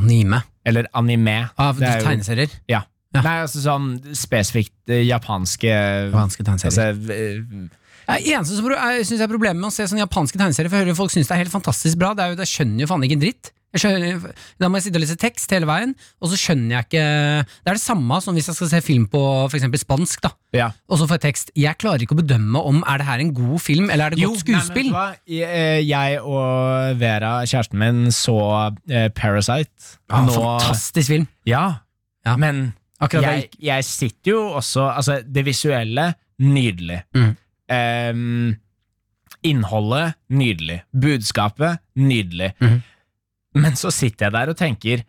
[SPEAKER 5] Anime.
[SPEAKER 4] Eller anime.
[SPEAKER 5] Av
[SPEAKER 4] Det er jo-
[SPEAKER 5] tegneserier.
[SPEAKER 4] Ja.
[SPEAKER 5] Ja.
[SPEAKER 4] Nei, altså sånn spesifikt eh, japanske
[SPEAKER 5] Japanske tegneserier.
[SPEAKER 4] altså, v-
[SPEAKER 5] Ja, eneste som jeg synes jeg er problemet med å se sånne japanske tegneserier, for jeg hører jo folk synes det er helt fantastisk bra. Det er jo, jeg skjønner jo faen ikke en dritt. Jeg skjønner, da må jeg sitte og lese tekst hele veien, og så skjønner jeg ikke Det er det samme som hvis jeg skal se film på for eksempel spansk, da.
[SPEAKER 4] ja.
[SPEAKER 5] Og så får jeg tekst. Jeg klarer ikke å bedømme om er det her en god film eller er det godt skuespill.
[SPEAKER 4] Nei, men vet du hva? Jeg- eh, jeg og Vera, kjæresten min, så eh, Parasite.
[SPEAKER 5] ja, Ah, fantastisk film.
[SPEAKER 4] Ja,
[SPEAKER 5] Ja.
[SPEAKER 4] men
[SPEAKER 5] Akkurat
[SPEAKER 4] jeg,
[SPEAKER 5] det.
[SPEAKER 4] jeg sitter jo også Altså, det visuelle, nydelig.
[SPEAKER 5] Mm.
[SPEAKER 4] Ehm, innholdet, nydelig. Budskapet, nydelig.
[SPEAKER 5] Mhm.
[SPEAKER 4] Men så sitter jeg der og tenker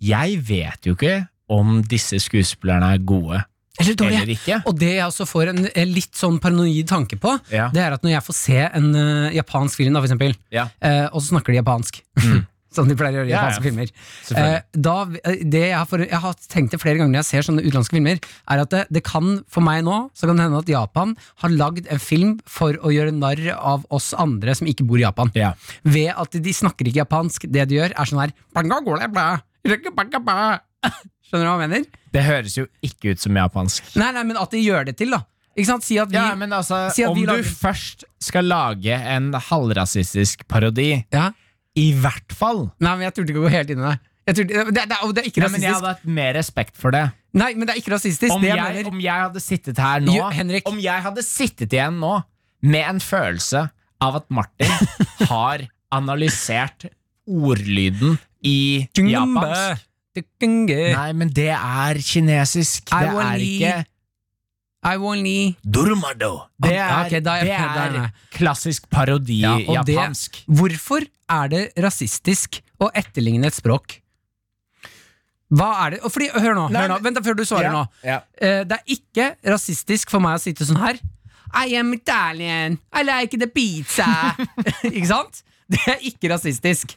[SPEAKER 4] Jeg vet jo ikke om disse skuespillerne er gode
[SPEAKER 5] Eller dårlig.
[SPEAKER 4] eller ikke.
[SPEAKER 5] Og det jeg også får en, en litt sånn paranoid tanke på,
[SPEAKER 4] Ja.
[SPEAKER 5] det er at når jeg får se en eh, japansk film, da, for eksempel,
[SPEAKER 4] Ja.
[SPEAKER 5] eh, og så snakker de japansk,
[SPEAKER 4] Mm.
[SPEAKER 5] som de pleier å gjøre i
[SPEAKER 4] Ja, ja.
[SPEAKER 5] japanske filmer eh,
[SPEAKER 4] Selvfølgelig.
[SPEAKER 5] da, eh, det jeg, har for, jeg har tenkt det flere ganger når jeg ser sånne utenlandske filmer, er at det, det kan, for meg nå, så kan det hende at Japan har lagd en film for å gjøre narr av oss andre som ikke bor i Japan.
[SPEAKER 4] ja.
[SPEAKER 5] Ved at de snakker ikke japansk. Det de gjør, er sånn her Banga gola bla, rugga banga ba. Skjønner du hva jeg mener?
[SPEAKER 4] Det høres jo ikke ut som japansk.
[SPEAKER 5] Nei, nei, men at de gjør det til, da. Ikke sant? Si at vi
[SPEAKER 4] Ja, men altså,
[SPEAKER 5] Si at
[SPEAKER 4] om
[SPEAKER 5] vi lager-
[SPEAKER 4] du først skal lage en halvrasistisk parodi,
[SPEAKER 5] Ja.
[SPEAKER 4] i hvert fall
[SPEAKER 5] Nei, men jeg turte ikke å gå helt inn i det. Jeg turte, det, det, og det er ikke
[SPEAKER 4] Nei, men Jeg
[SPEAKER 5] rasistisk.
[SPEAKER 4] hadde hatt mer respekt for det.
[SPEAKER 5] Nei, men det er ikke rasistisk.
[SPEAKER 4] Om
[SPEAKER 5] det jeg,
[SPEAKER 4] jeg,
[SPEAKER 5] mener.
[SPEAKER 4] om jeg hadde sittet her nå
[SPEAKER 5] Jo, Henrik.
[SPEAKER 4] Om jeg hadde sittet igjen nå med en følelse av at Martin har analysert ordlyden i japansk
[SPEAKER 5] Japansk.
[SPEAKER 4] Nei, men det er kinesisk.
[SPEAKER 5] I
[SPEAKER 4] Det
[SPEAKER 5] want
[SPEAKER 4] er
[SPEAKER 5] li-
[SPEAKER 4] ikke
[SPEAKER 5] I only
[SPEAKER 2] Dormado.
[SPEAKER 4] Det er,
[SPEAKER 5] Ah, ok, da er jeg med, da er
[SPEAKER 4] det
[SPEAKER 5] jeg
[SPEAKER 4] er
[SPEAKER 5] med.
[SPEAKER 4] klassisk parodi
[SPEAKER 5] Ja, og det-
[SPEAKER 4] japansk.
[SPEAKER 5] Hvorfor er det rasistisk å etterligne et språk? Hva er det? Og Fordi, hør nå,
[SPEAKER 4] Nei,
[SPEAKER 5] hør nå.
[SPEAKER 4] men-
[SPEAKER 5] Vent da, før du svarer nå.
[SPEAKER 4] Ja.
[SPEAKER 5] Eh, det er ikke rasistisk for meg å sitte sånn her. I am Italian. I like the pizza. ikke sant? Det er ikke rasistisk.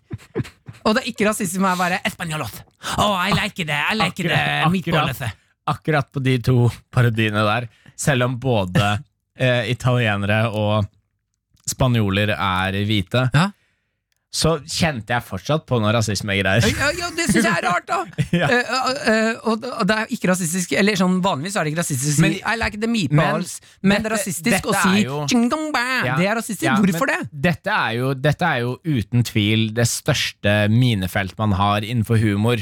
[SPEAKER 5] Og det er ikke rasistisk for meg å være espanjolot. Oh, I like det. I like det.
[SPEAKER 4] Akkurat-
[SPEAKER 5] Meatballete.
[SPEAKER 4] akkurat på de to parodiene der, selv om både eh, italienere og spanjoler er hvite,
[SPEAKER 5] Ja.
[SPEAKER 4] så kjente jeg fortsatt på noe rasismegreier.
[SPEAKER 5] Ja, ja, det syns jeg er rart, da!
[SPEAKER 4] Ja.
[SPEAKER 5] Eh, eh, eh, og, og det er ikke rasistisk Eller sånn Vanligvis er det ikke rasistisk å si
[SPEAKER 4] Men-
[SPEAKER 5] I like the meatballs, men, det er
[SPEAKER 4] dette-
[SPEAKER 5] rasistisk
[SPEAKER 4] dette
[SPEAKER 5] å si
[SPEAKER 4] er jo-
[SPEAKER 5] ching dong bang.
[SPEAKER 4] Ja.
[SPEAKER 5] Det er rasistisk.
[SPEAKER 4] Ja,
[SPEAKER 5] Hvorfor
[SPEAKER 4] men
[SPEAKER 5] det?
[SPEAKER 4] Dette er, jo, dette er jo uten tvil det største minefelt man har innenfor humor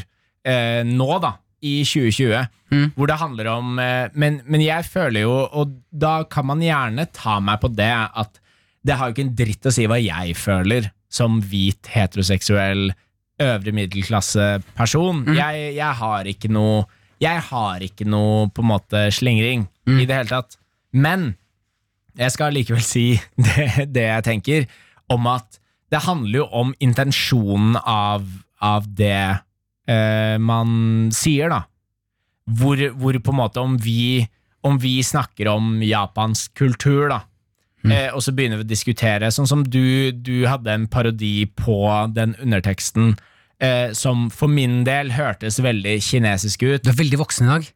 [SPEAKER 4] eh, nå, da. i 2020
[SPEAKER 5] Mm.
[SPEAKER 4] hvor det handler om eh, men, men jeg føler jo, og da kan man gjerne ta meg på det, at det har jo ikke en dritt å si hva jeg føler som hvit, heteroseksuell, øvre middelklasse-person.
[SPEAKER 5] Mm.
[SPEAKER 4] Jeg, jeg har ikke noe Jeg har ikke noe på en måte slingring
[SPEAKER 5] Mm.
[SPEAKER 4] i det hele tatt. Men jeg skal likevel si det, det jeg tenker, om at det handler jo om intensjonen av, av det eh, man sier, da. Hvor, hvor på en måte om vi, om vi snakker om japansk kultur, da,
[SPEAKER 5] Mm.
[SPEAKER 4] eh, og så begynner vi å diskutere, sånn som du, du hadde en parodi på den underteksten eh, som for min del hørtes veldig kinesisk ut.
[SPEAKER 5] Du er veldig voksen i dag.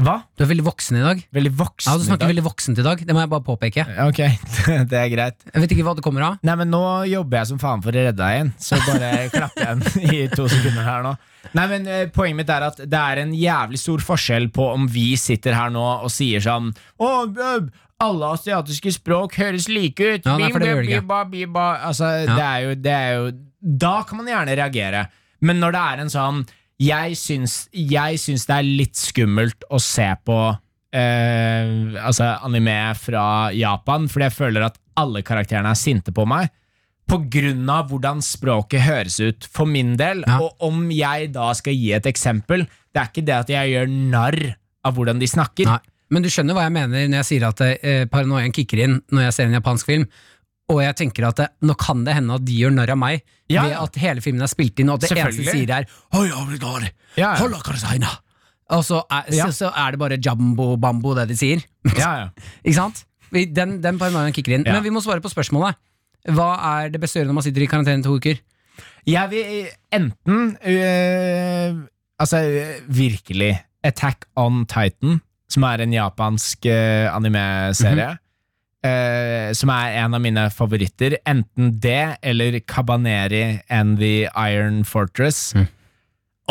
[SPEAKER 4] Hva?
[SPEAKER 5] Du er veldig voksen i dag.
[SPEAKER 4] Veldig voksen?
[SPEAKER 5] Ja, du snakker
[SPEAKER 4] i dag.
[SPEAKER 5] veldig voksent i dag. Det må jeg bare påpeke.
[SPEAKER 4] Ok, det er greit.
[SPEAKER 5] Jeg vet ikke hva det kommer av.
[SPEAKER 4] Nei, men nå jobber jeg som faen for å redde deg igjen, så bare klapp igjen i to sekunder her nå. Nei, men eh, Poenget mitt er at det er en jævlig stor forskjell på om vi sitter her nå og sier sånn Å, bøb, alle asiatiske språk høres like ut.
[SPEAKER 5] Ja, nei, for det
[SPEAKER 4] Bim,
[SPEAKER 5] gjør det ikke.
[SPEAKER 4] bim, ba, bim, ba. Altså,
[SPEAKER 5] Ja.
[SPEAKER 4] det, er jo, det er jo Da kan man gjerne reagere. Men når det er en sånn Jeg syns, jeg syns det er litt skummelt å se på eh, altså anime fra Japan, fordi jeg føler at alle karakterene er sinte på meg. På grunn av hvordan språket høres ut for min del.
[SPEAKER 5] Ja.
[SPEAKER 4] Og om jeg da skal gi et eksempel, det er ikke det at jeg gjør narr av hvordan de snakker.
[SPEAKER 5] Nei. Men du skjønner hva jeg mener når jeg sier at eh, paranoiaen kicker inn når jeg ser en japansk film. Og jeg tenker at eh, nå kan det hende at de gjør narr av meg
[SPEAKER 4] Ja,
[SPEAKER 5] ved
[SPEAKER 4] ja.
[SPEAKER 5] at hele filmen er spilt inn, og at det eneste de
[SPEAKER 4] Selvfølgelig.
[SPEAKER 5] sier, er «Oi, obrigado.
[SPEAKER 4] Ja, ja.
[SPEAKER 5] Hola, Karzaina». Og så er,
[SPEAKER 4] Ja.
[SPEAKER 5] så, så er det bare jumbo-bambo, det de sier.
[SPEAKER 4] Ja, ja.
[SPEAKER 5] Ikke sant? Vi- Den, den paranoiaen kicker inn.
[SPEAKER 4] Ja.
[SPEAKER 5] Men vi må svare på spørsmålet. Hva er det beste å gjøre når man sitter i karantene to uker?
[SPEAKER 4] Jeg vil enten øh, Altså øh, virkelig Attack on Titan, som er en japansk øh, anime-serie.
[SPEAKER 5] Mhm.
[SPEAKER 4] øh, som er en av mine favoritter. Enten det eller Cabaneri and The Iron Fortress.
[SPEAKER 5] Mhm.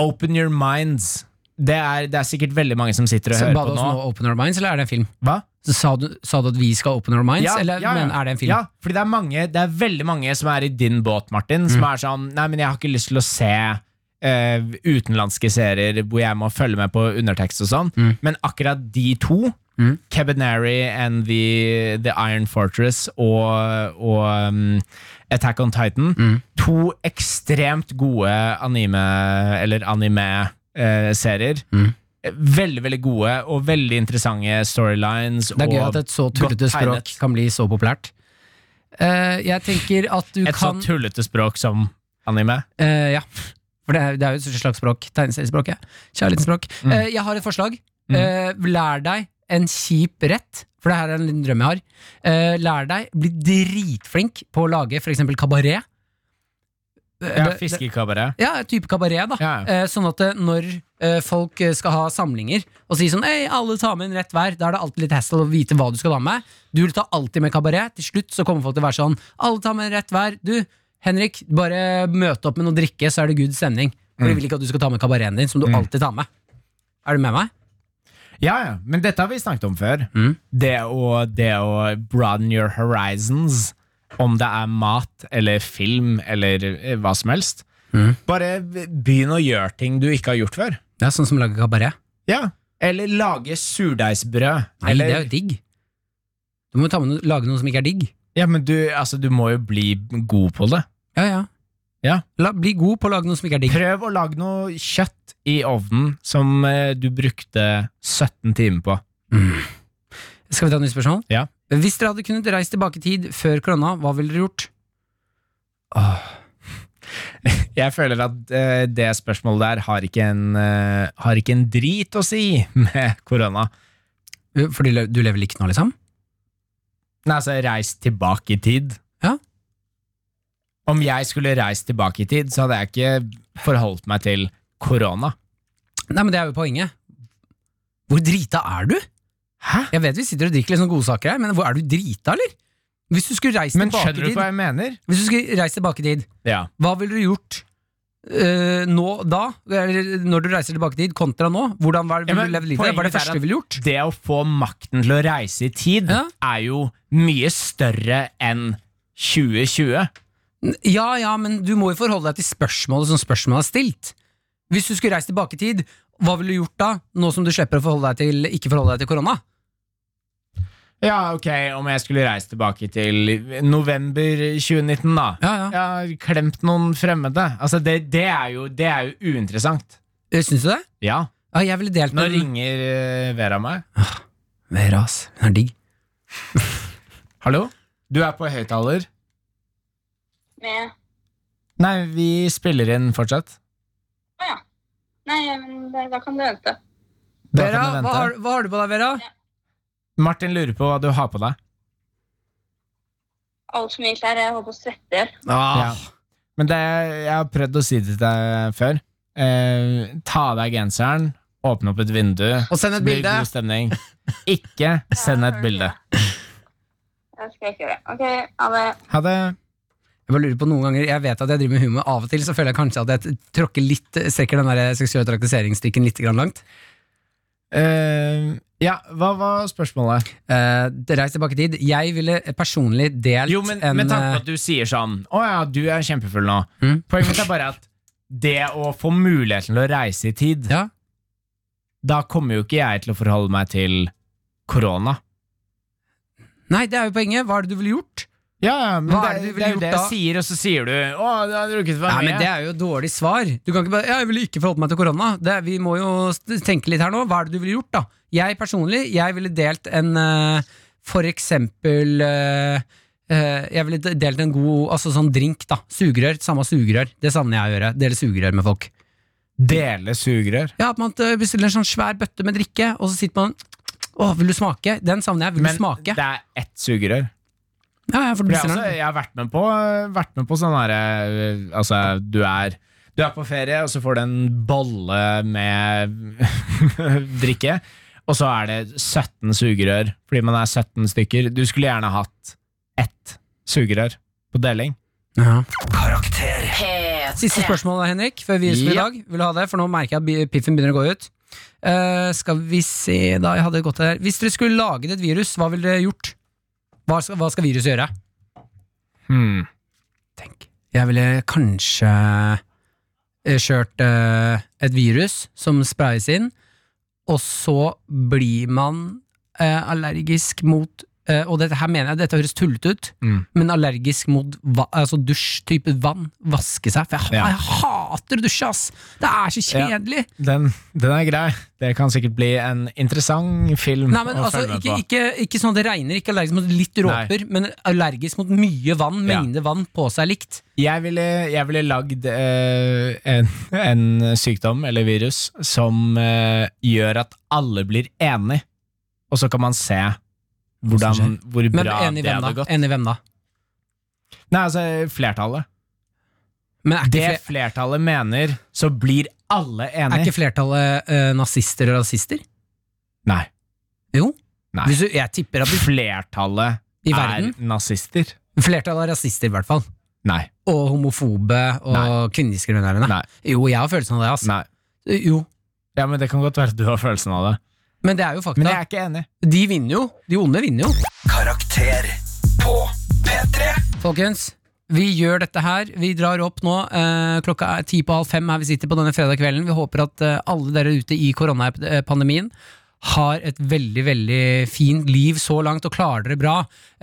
[SPEAKER 4] Open Your Minds. Det er, det er sikkert veldig mange som sitter og
[SPEAKER 5] Så
[SPEAKER 4] hører
[SPEAKER 5] ba du
[SPEAKER 4] på
[SPEAKER 5] oss
[SPEAKER 4] nå.
[SPEAKER 5] nå open our minds, eller er det en film?
[SPEAKER 4] Hva?
[SPEAKER 5] Så sa, du, sa du at vi skal open our minds, eller Men er det en film?
[SPEAKER 4] Ja, fordi det er, mange, det er veldig mange som er i din båt, Martin,
[SPEAKER 5] Mm.
[SPEAKER 4] som er sånn Nei, men jeg har ikke lyst til å se eh, utenlandske serier hvor jeg må følge med på undertekst og sånn, men akkurat de to
[SPEAKER 5] Mm.
[SPEAKER 4] Cabaneri and the, the Iron Fortress og, og um, Attack on Titan.
[SPEAKER 5] Mm.
[SPEAKER 4] To ekstremt gode anime- eller anime-serier.
[SPEAKER 5] Mm.
[SPEAKER 4] Veldig veldig gode og veldig interessante storylines.
[SPEAKER 5] Det er gøy
[SPEAKER 4] og
[SPEAKER 5] at et så tullete
[SPEAKER 4] godt
[SPEAKER 5] språk
[SPEAKER 4] tegnet.
[SPEAKER 5] kan bli så populært. Eh, jeg tenker at du
[SPEAKER 4] Et
[SPEAKER 5] kan
[SPEAKER 4] så tullete språk som anime.
[SPEAKER 5] Eh, Ja, for det er, det er jo et slags språk. Tegneseriespråk, ja. Kjærlighetsspråk.
[SPEAKER 4] Mm.
[SPEAKER 5] Eh, jeg har et forslag. Eh, lær deg en kjip rett, for det her er en liten drøm jeg har. Eh, lær deg, bli dritflink på å lage for eksempel kabaret. Eh,
[SPEAKER 4] Ja,
[SPEAKER 5] det- det-
[SPEAKER 4] Fiskekabaret.
[SPEAKER 5] Ja, et type kabaret, da.
[SPEAKER 4] Ja, ja.
[SPEAKER 5] Eh, sånn at eh, når eh, folk eh, skal ha samlinger og sier sånn Hei, alle tar med en rett hver. Da er det alltid litt hassle å vite hva du skal ta med. Du vil ta alltid med kabaret. Til slutt så kommer folk til å være sånn Alle tar med en rett hver. Du, Henrik, bare møte opp med noe drikke, så er det good stemning. For
[SPEAKER 4] Mm.
[SPEAKER 5] de vil ikke at du skal ta med kabareten din, som du alltid tar med. Er du med meg?
[SPEAKER 4] Ja, ja, men dette har vi snakket om før.
[SPEAKER 5] Mm.
[SPEAKER 4] Det, å, det å broaden your horizons, om det er mat eller film eller eh, hva som helst.
[SPEAKER 5] Mm.
[SPEAKER 4] Bare begynn å gjøre ting du ikke har gjort før.
[SPEAKER 5] Det er sånn som lager kabaret.
[SPEAKER 4] Ja. Eller lage surdeigsbrød.
[SPEAKER 5] Nei,
[SPEAKER 4] eller,
[SPEAKER 5] det er jo digg. Du må jo ta med noe, lage noe som ikke er digg.
[SPEAKER 4] Ja, men du, altså, du må jo bli god på det.
[SPEAKER 5] Ja, ja.
[SPEAKER 4] Ja.
[SPEAKER 5] La, bli god på å lage noe som ikke er digg.
[SPEAKER 4] Prøv å lage noe kjøtt i ovnen som eh, du brukte 17 timer på.
[SPEAKER 5] Mm. Skal vi ta et nytt spørsmål?
[SPEAKER 4] Ja.
[SPEAKER 5] Hvis dere hadde kunnet reise tilbake i tid før korona, hva ville dere gjort?
[SPEAKER 4] Jeg føler at eh, det spørsmålet der har ikke, en, eh, har ikke en drit å si med korona.
[SPEAKER 5] Eh, Fordi le- du lever ikke nå, liksom?
[SPEAKER 4] Nei, altså reist tilbake i tid.
[SPEAKER 5] Ja.
[SPEAKER 4] Om jeg skulle reist tilbake i tid, så hadde jeg ikke forholdt meg til korona.
[SPEAKER 5] Nei, men det er jo poenget. Hvor drita er du?
[SPEAKER 4] Hæ?
[SPEAKER 5] Jeg vet vi sitter og drikker litt sånn godsaker her, men hvor er du drita, eller? Hvis du skulle reist
[SPEAKER 4] Men
[SPEAKER 5] tilbake
[SPEAKER 4] skjønner
[SPEAKER 5] i
[SPEAKER 4] du hva
[SPEAKER 5] tid,
[SPEAKER 4] jeg mener?
[SPEAKER 5] hvis du skulle reise tilbake i tid,
[SPEAKER 4] Ja.
[SPEAKER 5] hva ville du gjort eh, nå, da, eller når du reiser tilbake i tid, kontra nå? Hvordan var,
[SPEAKER 4] Ja,
[SPEAKER 5] ville
[SPEAKER 4] men
[SPEAKER 5] du levd livet? Hva
[SPEAKER 4] poenget
[SPEAKER 5] er det
[SPEAKER 4] er at-
[SPEAKER 5] første du ville gjort?
[SPEAKER 4] Det å få makten til å reise i tid
[SPEAKER 5] Ja.
[SPEAKER 4] er jo mye større enn 2020.
[SPEAKER 5] Ja, ja, men du må jo forholde deg til spørsmålet som spørsmålet er stilt. Hvis du skulle reist tilbake i tid, Hva ville du gjort da, nå som du slipper å forholde deg til, ikke forholde deg til korona?
[SPEAKER 4] Ja, ok, om jeg skulle reist tilbake til november 2019 da
[SPEAKER 5] Ja, ja.
[SPEAKER 4] Ja, klemt noen fremmede Altså, det, det, er, jo, det er jo uinteressant
[SPEAKER 5] Eh, Syns du det?
[SPEAKER 4] Ja,
[SPEAKER 5] Ja, jeg ville delt
[SPEAKER 4] nå
[SPEAKER 5] med
[SPEAKER 4] ringer eh, Vera meg
[SPEAKER 5] Vera, ass. Hun er digg.
[SPEAKER 4] Hallo? Du er på høyttaler?
[SPEAKER 7] Med
[SPEAKER 4] Nei, vi spiller inn fortsatt
[SPEAKER 7] Å ja. Nei, men da- da kan du vente.
[SPEAKER 4] Da
[SPEAKER 5] Vera,
[SPEAKER 4] kan du
[SPEAKER 5] hva
[SPEAKER 4] vente.
[SPEAKER 5] har, hva har du på deg, Vera?
[SPEAKER 4] Martin lurer på hva du har på deg
[SPEAKER 7] Altfor mye klær. Jeg holder på å svette i hjel.
[SPEAKER 5] Ah,
[SPEAKER 4] Ja. Men det, jeg har prøvd å si det til deg før. Eh, ta av deg genseren, åpne opp et vindu.
[SPEAKER 5] Og send
[SPEAKER 4] så
[SPEAKER 5] et
[SPEAKER 4] blir det
[SPEAKER 5] bilde.
[SPEAKER 4] God stemning. Ikke send et bilde.
[SPEAKER 7] Jeg skal ikke gjøre det. Ok, ha det.
[SPEAKER 4] Ha det.
[SPEAKER 5] Jeg bare lurer på noen ganger, jeg vet at jeg driver med humor, men av og til så føler jeg kanskje at jeg t- tråkker litt, eh, strekker den der seksuelle traktasseringsstikken litt grann langt.
[SPEAKER 4] Eh, ja, hva var spørsmålet?
[SPEAKER 5] Eh, reis tilbake i tid. Jeg ville personlig delt
[SPEAKER 4] Jo, men
[SPEAKER 5] en
[SPEAKER 4] Med tanke
[SPEAKER 5] eh,
[SPEAKER 4] på at du sier sånn Å ja, du er kjempefull nå.
[SPEAKER 5] Mm.
[SPEAKER 4] Poenget mitt er bare at det å få muligheten til å reise i tid
[SPEAKER 5] Ja.
[SPEAKER 4] Da kommer jo ikke jeg til å forholde meg til korona.
[SPEAKER 5] Nei, det er jo poenget. Hva er det du ville gjort?
[SPEAKER 4] Ja, ja, men
[SPEAKER 5] Hva er
[SPEAKER 4] det,
[SPEAKER 5] det du ville
[SPEAKER 4] det er jo
[SPEAKER 5] gjort
[SPEAKER 4] det
[SPEAKER 5] da?
[SPEAKER 4] jeg sier, og så sier du Å, du har drukket for
[SPEAKER 5] Nei,
[SPEAKER 4] mye.
[SPEAKER 5] men Det er jo et dårlig svar. Du kan ikke bare, ja, Jeg ville ikke forholdt meg til korona. Det, vi må jo st- tenke litt her nå. Hva er det du ville gjort, da? Jeg personlig jeg ville delt en eh, For eksempel eh, eh, Jeg ville de- delt en god altså sånn drink, da. Sugerør. Samme sugerør. Det savner jeg å gjøre. Dele sugerør med folk.
[SPEAKER 4] Dele sugerør.
[SPEAKER 5] Ja, At man eh, bestiller en sånn svær bøtte med drikke, og så sitter man Å, vil du smake? Den savner jeg. Vil
[SPEAKER 4] Men
[SPEAKER 5] du smake?
[SPEAKER 4] det er ett sugerør.
[SPEAKER 5] ja, ja, for du
[SPEAKER 4] For jeg,
[SPEAKER 5] bestiller
[SPEAKER 4] altså,
[SPEAKER 5] den.
[SPEAKER 4] jeg har vært med på, vært med på sånn herre Altså, du er du er på ferie, og så får du en bolle med drikke. Og så er det 17 sugerør, fordi man er 17 stykker. Du skulle gjerne hatt ett sugerør på deling.
[SPEAKER 5] Ja.
[SPEAKER 2] Karakter.
[SPEAKER 5] Siste spørsmål, Henrik, før vi gir oss i
[SPEAKER 4] Ja.
[SPEAKER 5] dag. Vil du ha det? For nå merker jeg at bi- piffen begynner å gå ut. Eh, skal vi se da, jeg hadde gått her. Hvis dere skulle laget et virus, hva ville dere gjort? Hva skal, hva skal viruset gjøre?
[SPEAKER 4] Hmm.
[SPEAKER 5] Tenk. Jeg ville kanskje eh, kjørt eh, et virus som sprayes inn, og så blir man eh, allergisk mot eh, og dette her mener jeg, dette høres tullete ut,
[SPEAKER 4] Mm.
[SPEAKER 5] men allergisk mot va altså dusj-type vann. Vaske seg. For jeg,
[SPEAKER 4] Ja.
[SPEAKER 5] jeg hater å dusje, ass! Det er så
[SPEAKER 4] Ja.
[SPEAKER 5] kjedelig!
[SPEAKER 4] Den, den er grei. Det kan sikkert bli en interessant film
[SPEAKER 5] Nei, men
[SPEAKER 4] Mm. å
[SPEAKER 5] altså,
[SPEAKER 4] følge med
[SPEAKER 5] ikke,
[SPEAKER 4] på.
[SPEAKER 5] ikke, ikke sånn at det regner, ikke allergisk mot litt dråper, men allergisk mot mye vann,
[SPEAKER 4] Ja.
[SPEAKER 5] mengde vann på seg likt.
[SPEAKER 4] Jeg ville, jeg ville lagd eh, en, en sykdom eller virus som eh, gjør at alle blir enig, og så kan man se hvordan, hvor
[SPEAKER 5] Men
[SPEAKER 4] bra
[SPEAKER 5] enig
[SPEAKER 4] det
[SPEAKER 5] hvem
[SPEAKER 4] hadde
[SPEAKER 5] da?
[SPEAKER 4] gått.
[SPEAKER 5] Enig hvem da?
[SPEAKER 4] Nei, altså flertallet.
[SPEAKER 5] Men er ikke
[SPEAKER 4] Det
[SPEAKER 5] fler-
[SPEAKER 4] flertallet mener, så blir alle
[SPEAKER 5] Er
[SPEAKER 4] enig.
[SPEAKER 5] ikke flertallet eh, nazister og rasister?
[SPEAKER 4] Nei.
[SPEAKER 5] Jo.
[SPEAKER 4] Nei.
[SPEAKER 5] Hvis du, jeg tipper at du,
[SPEAKER 4] Flertallet
[SPEAKER 5] I
[SPEAKER 4] er
[SPEAKER 5] verden?
[SPEAKER 4] nazister.
[SPEAKER 5] flertallet er rasister, i hvert fall.
[SPEAKER 4] Nei.
[SPEAKER 5] Og homofobe og kvinnediskriminerende.
[SPEAKER 4] Nei.
[SPEAKER 5] Jo, jeg har følelsen av det. ass.
[SPEAKER 4] Nei.
[SPEAKER 5] Jo,
[SPEAKER 4] Ja, men Det kan godt være at du har følelsen av det.
[SPEAKER 5] Men det er jo fakta.
[SPEAKER 4] Men jeg er ikke enig.
[SPEAKER 5] De vinner jo. De onde vinner jo.
[SPEAKER 2] Karakter på P3.
[SPEAKER 5] Folkens, vi gjør dette her. Vi drar opp nå. Eh, klokka er ti på halv fem her vi sitter på denne fredag kvelden. Vi håper at eh, alle dere ute i koronapandemien har et veldig veldig fint liv så langt, og klarer dere bra.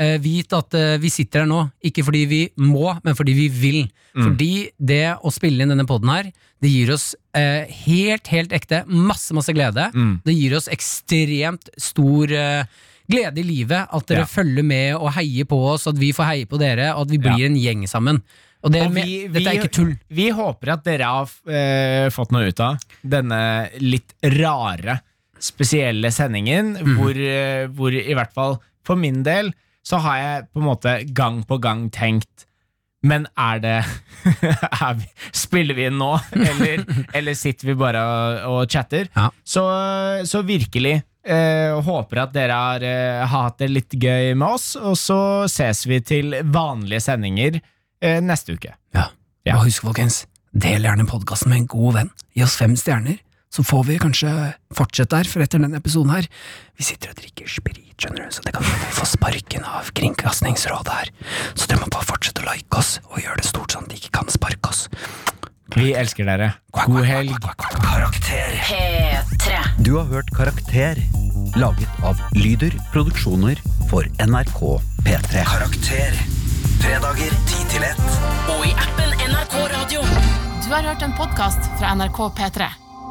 [SPEAKER 5] Eh, vit at eh, vi sitter her nå, ikke fordi vi må, men fordi vi vil. Fordi det å spille inn denne poden her, det gir oss eh, helt, helt ekte masse, masse glede.
[SPEAKER 4] Mm.
[SPEAKER 5] Det gir oss ekstremt stor eh, glede i livet, at dere
[SPEAKER 4] Ja.
[SPEAKER 5] følger med og heier på oss, at vi får heie på dere, og at vi blir en gjeng sammen. Og det,
[SPEAKER 4] Og
[SPEAKER 5] med,
[SPEAKER 4] vi-
[SPEAKER 5] dette er
[SPEAKER 4] vi-
[SPEAKER 5] ikke tull.
[SPEAKER 4] Vi håper at dere har eh, fått noe ut av denne litt rare, spesielle sendingen,
[SPEAKER 5] Mhm.
[SPEAKER 4] hvor, eh, hvor i hvert fall for min del så har jeg på en måte gang på gang tenkt men er det er vi, Spiller vi inn nå, eller, eller sitter vi bare og, og chatter?
[SPEAKER 5] Ja.
[SPEAKER 4] Så, så virkelig eh, håper at dere har, eh, har hatt det litt gøy med oss, og så ses vi til vanlige sendinger eh, neste uke. Ja.
[SPEAKER 5] Og husk, folkens, del gjerne podkasten med en god venn. Gi oss fem stjerner, så får vi kanskje fortsette her, for etter denne episoden her Vi sitter og drikker sprit, skjønner du, så det kan hende vi får sparken av Kringkastingsrådet her. Så dere må bare fortsette å like oss, og gjøre det stort sånn at de ikke kan sparke oss.
[SPEAKER 4] Vi elsker dere. God helg.
[SPEAKER 2] Karakter.
[SPEAKER 8] P3.
[SPEAKER 2] Du har hørt Karakter, laget av Lyder Produksjoner for NRK P3. Karakter. Fredager 10 til 1.
[SPEAKER 8] Og i appen NRK Radio.
[SPEAKER 9] Du har hørt en podkast fra NRK P3.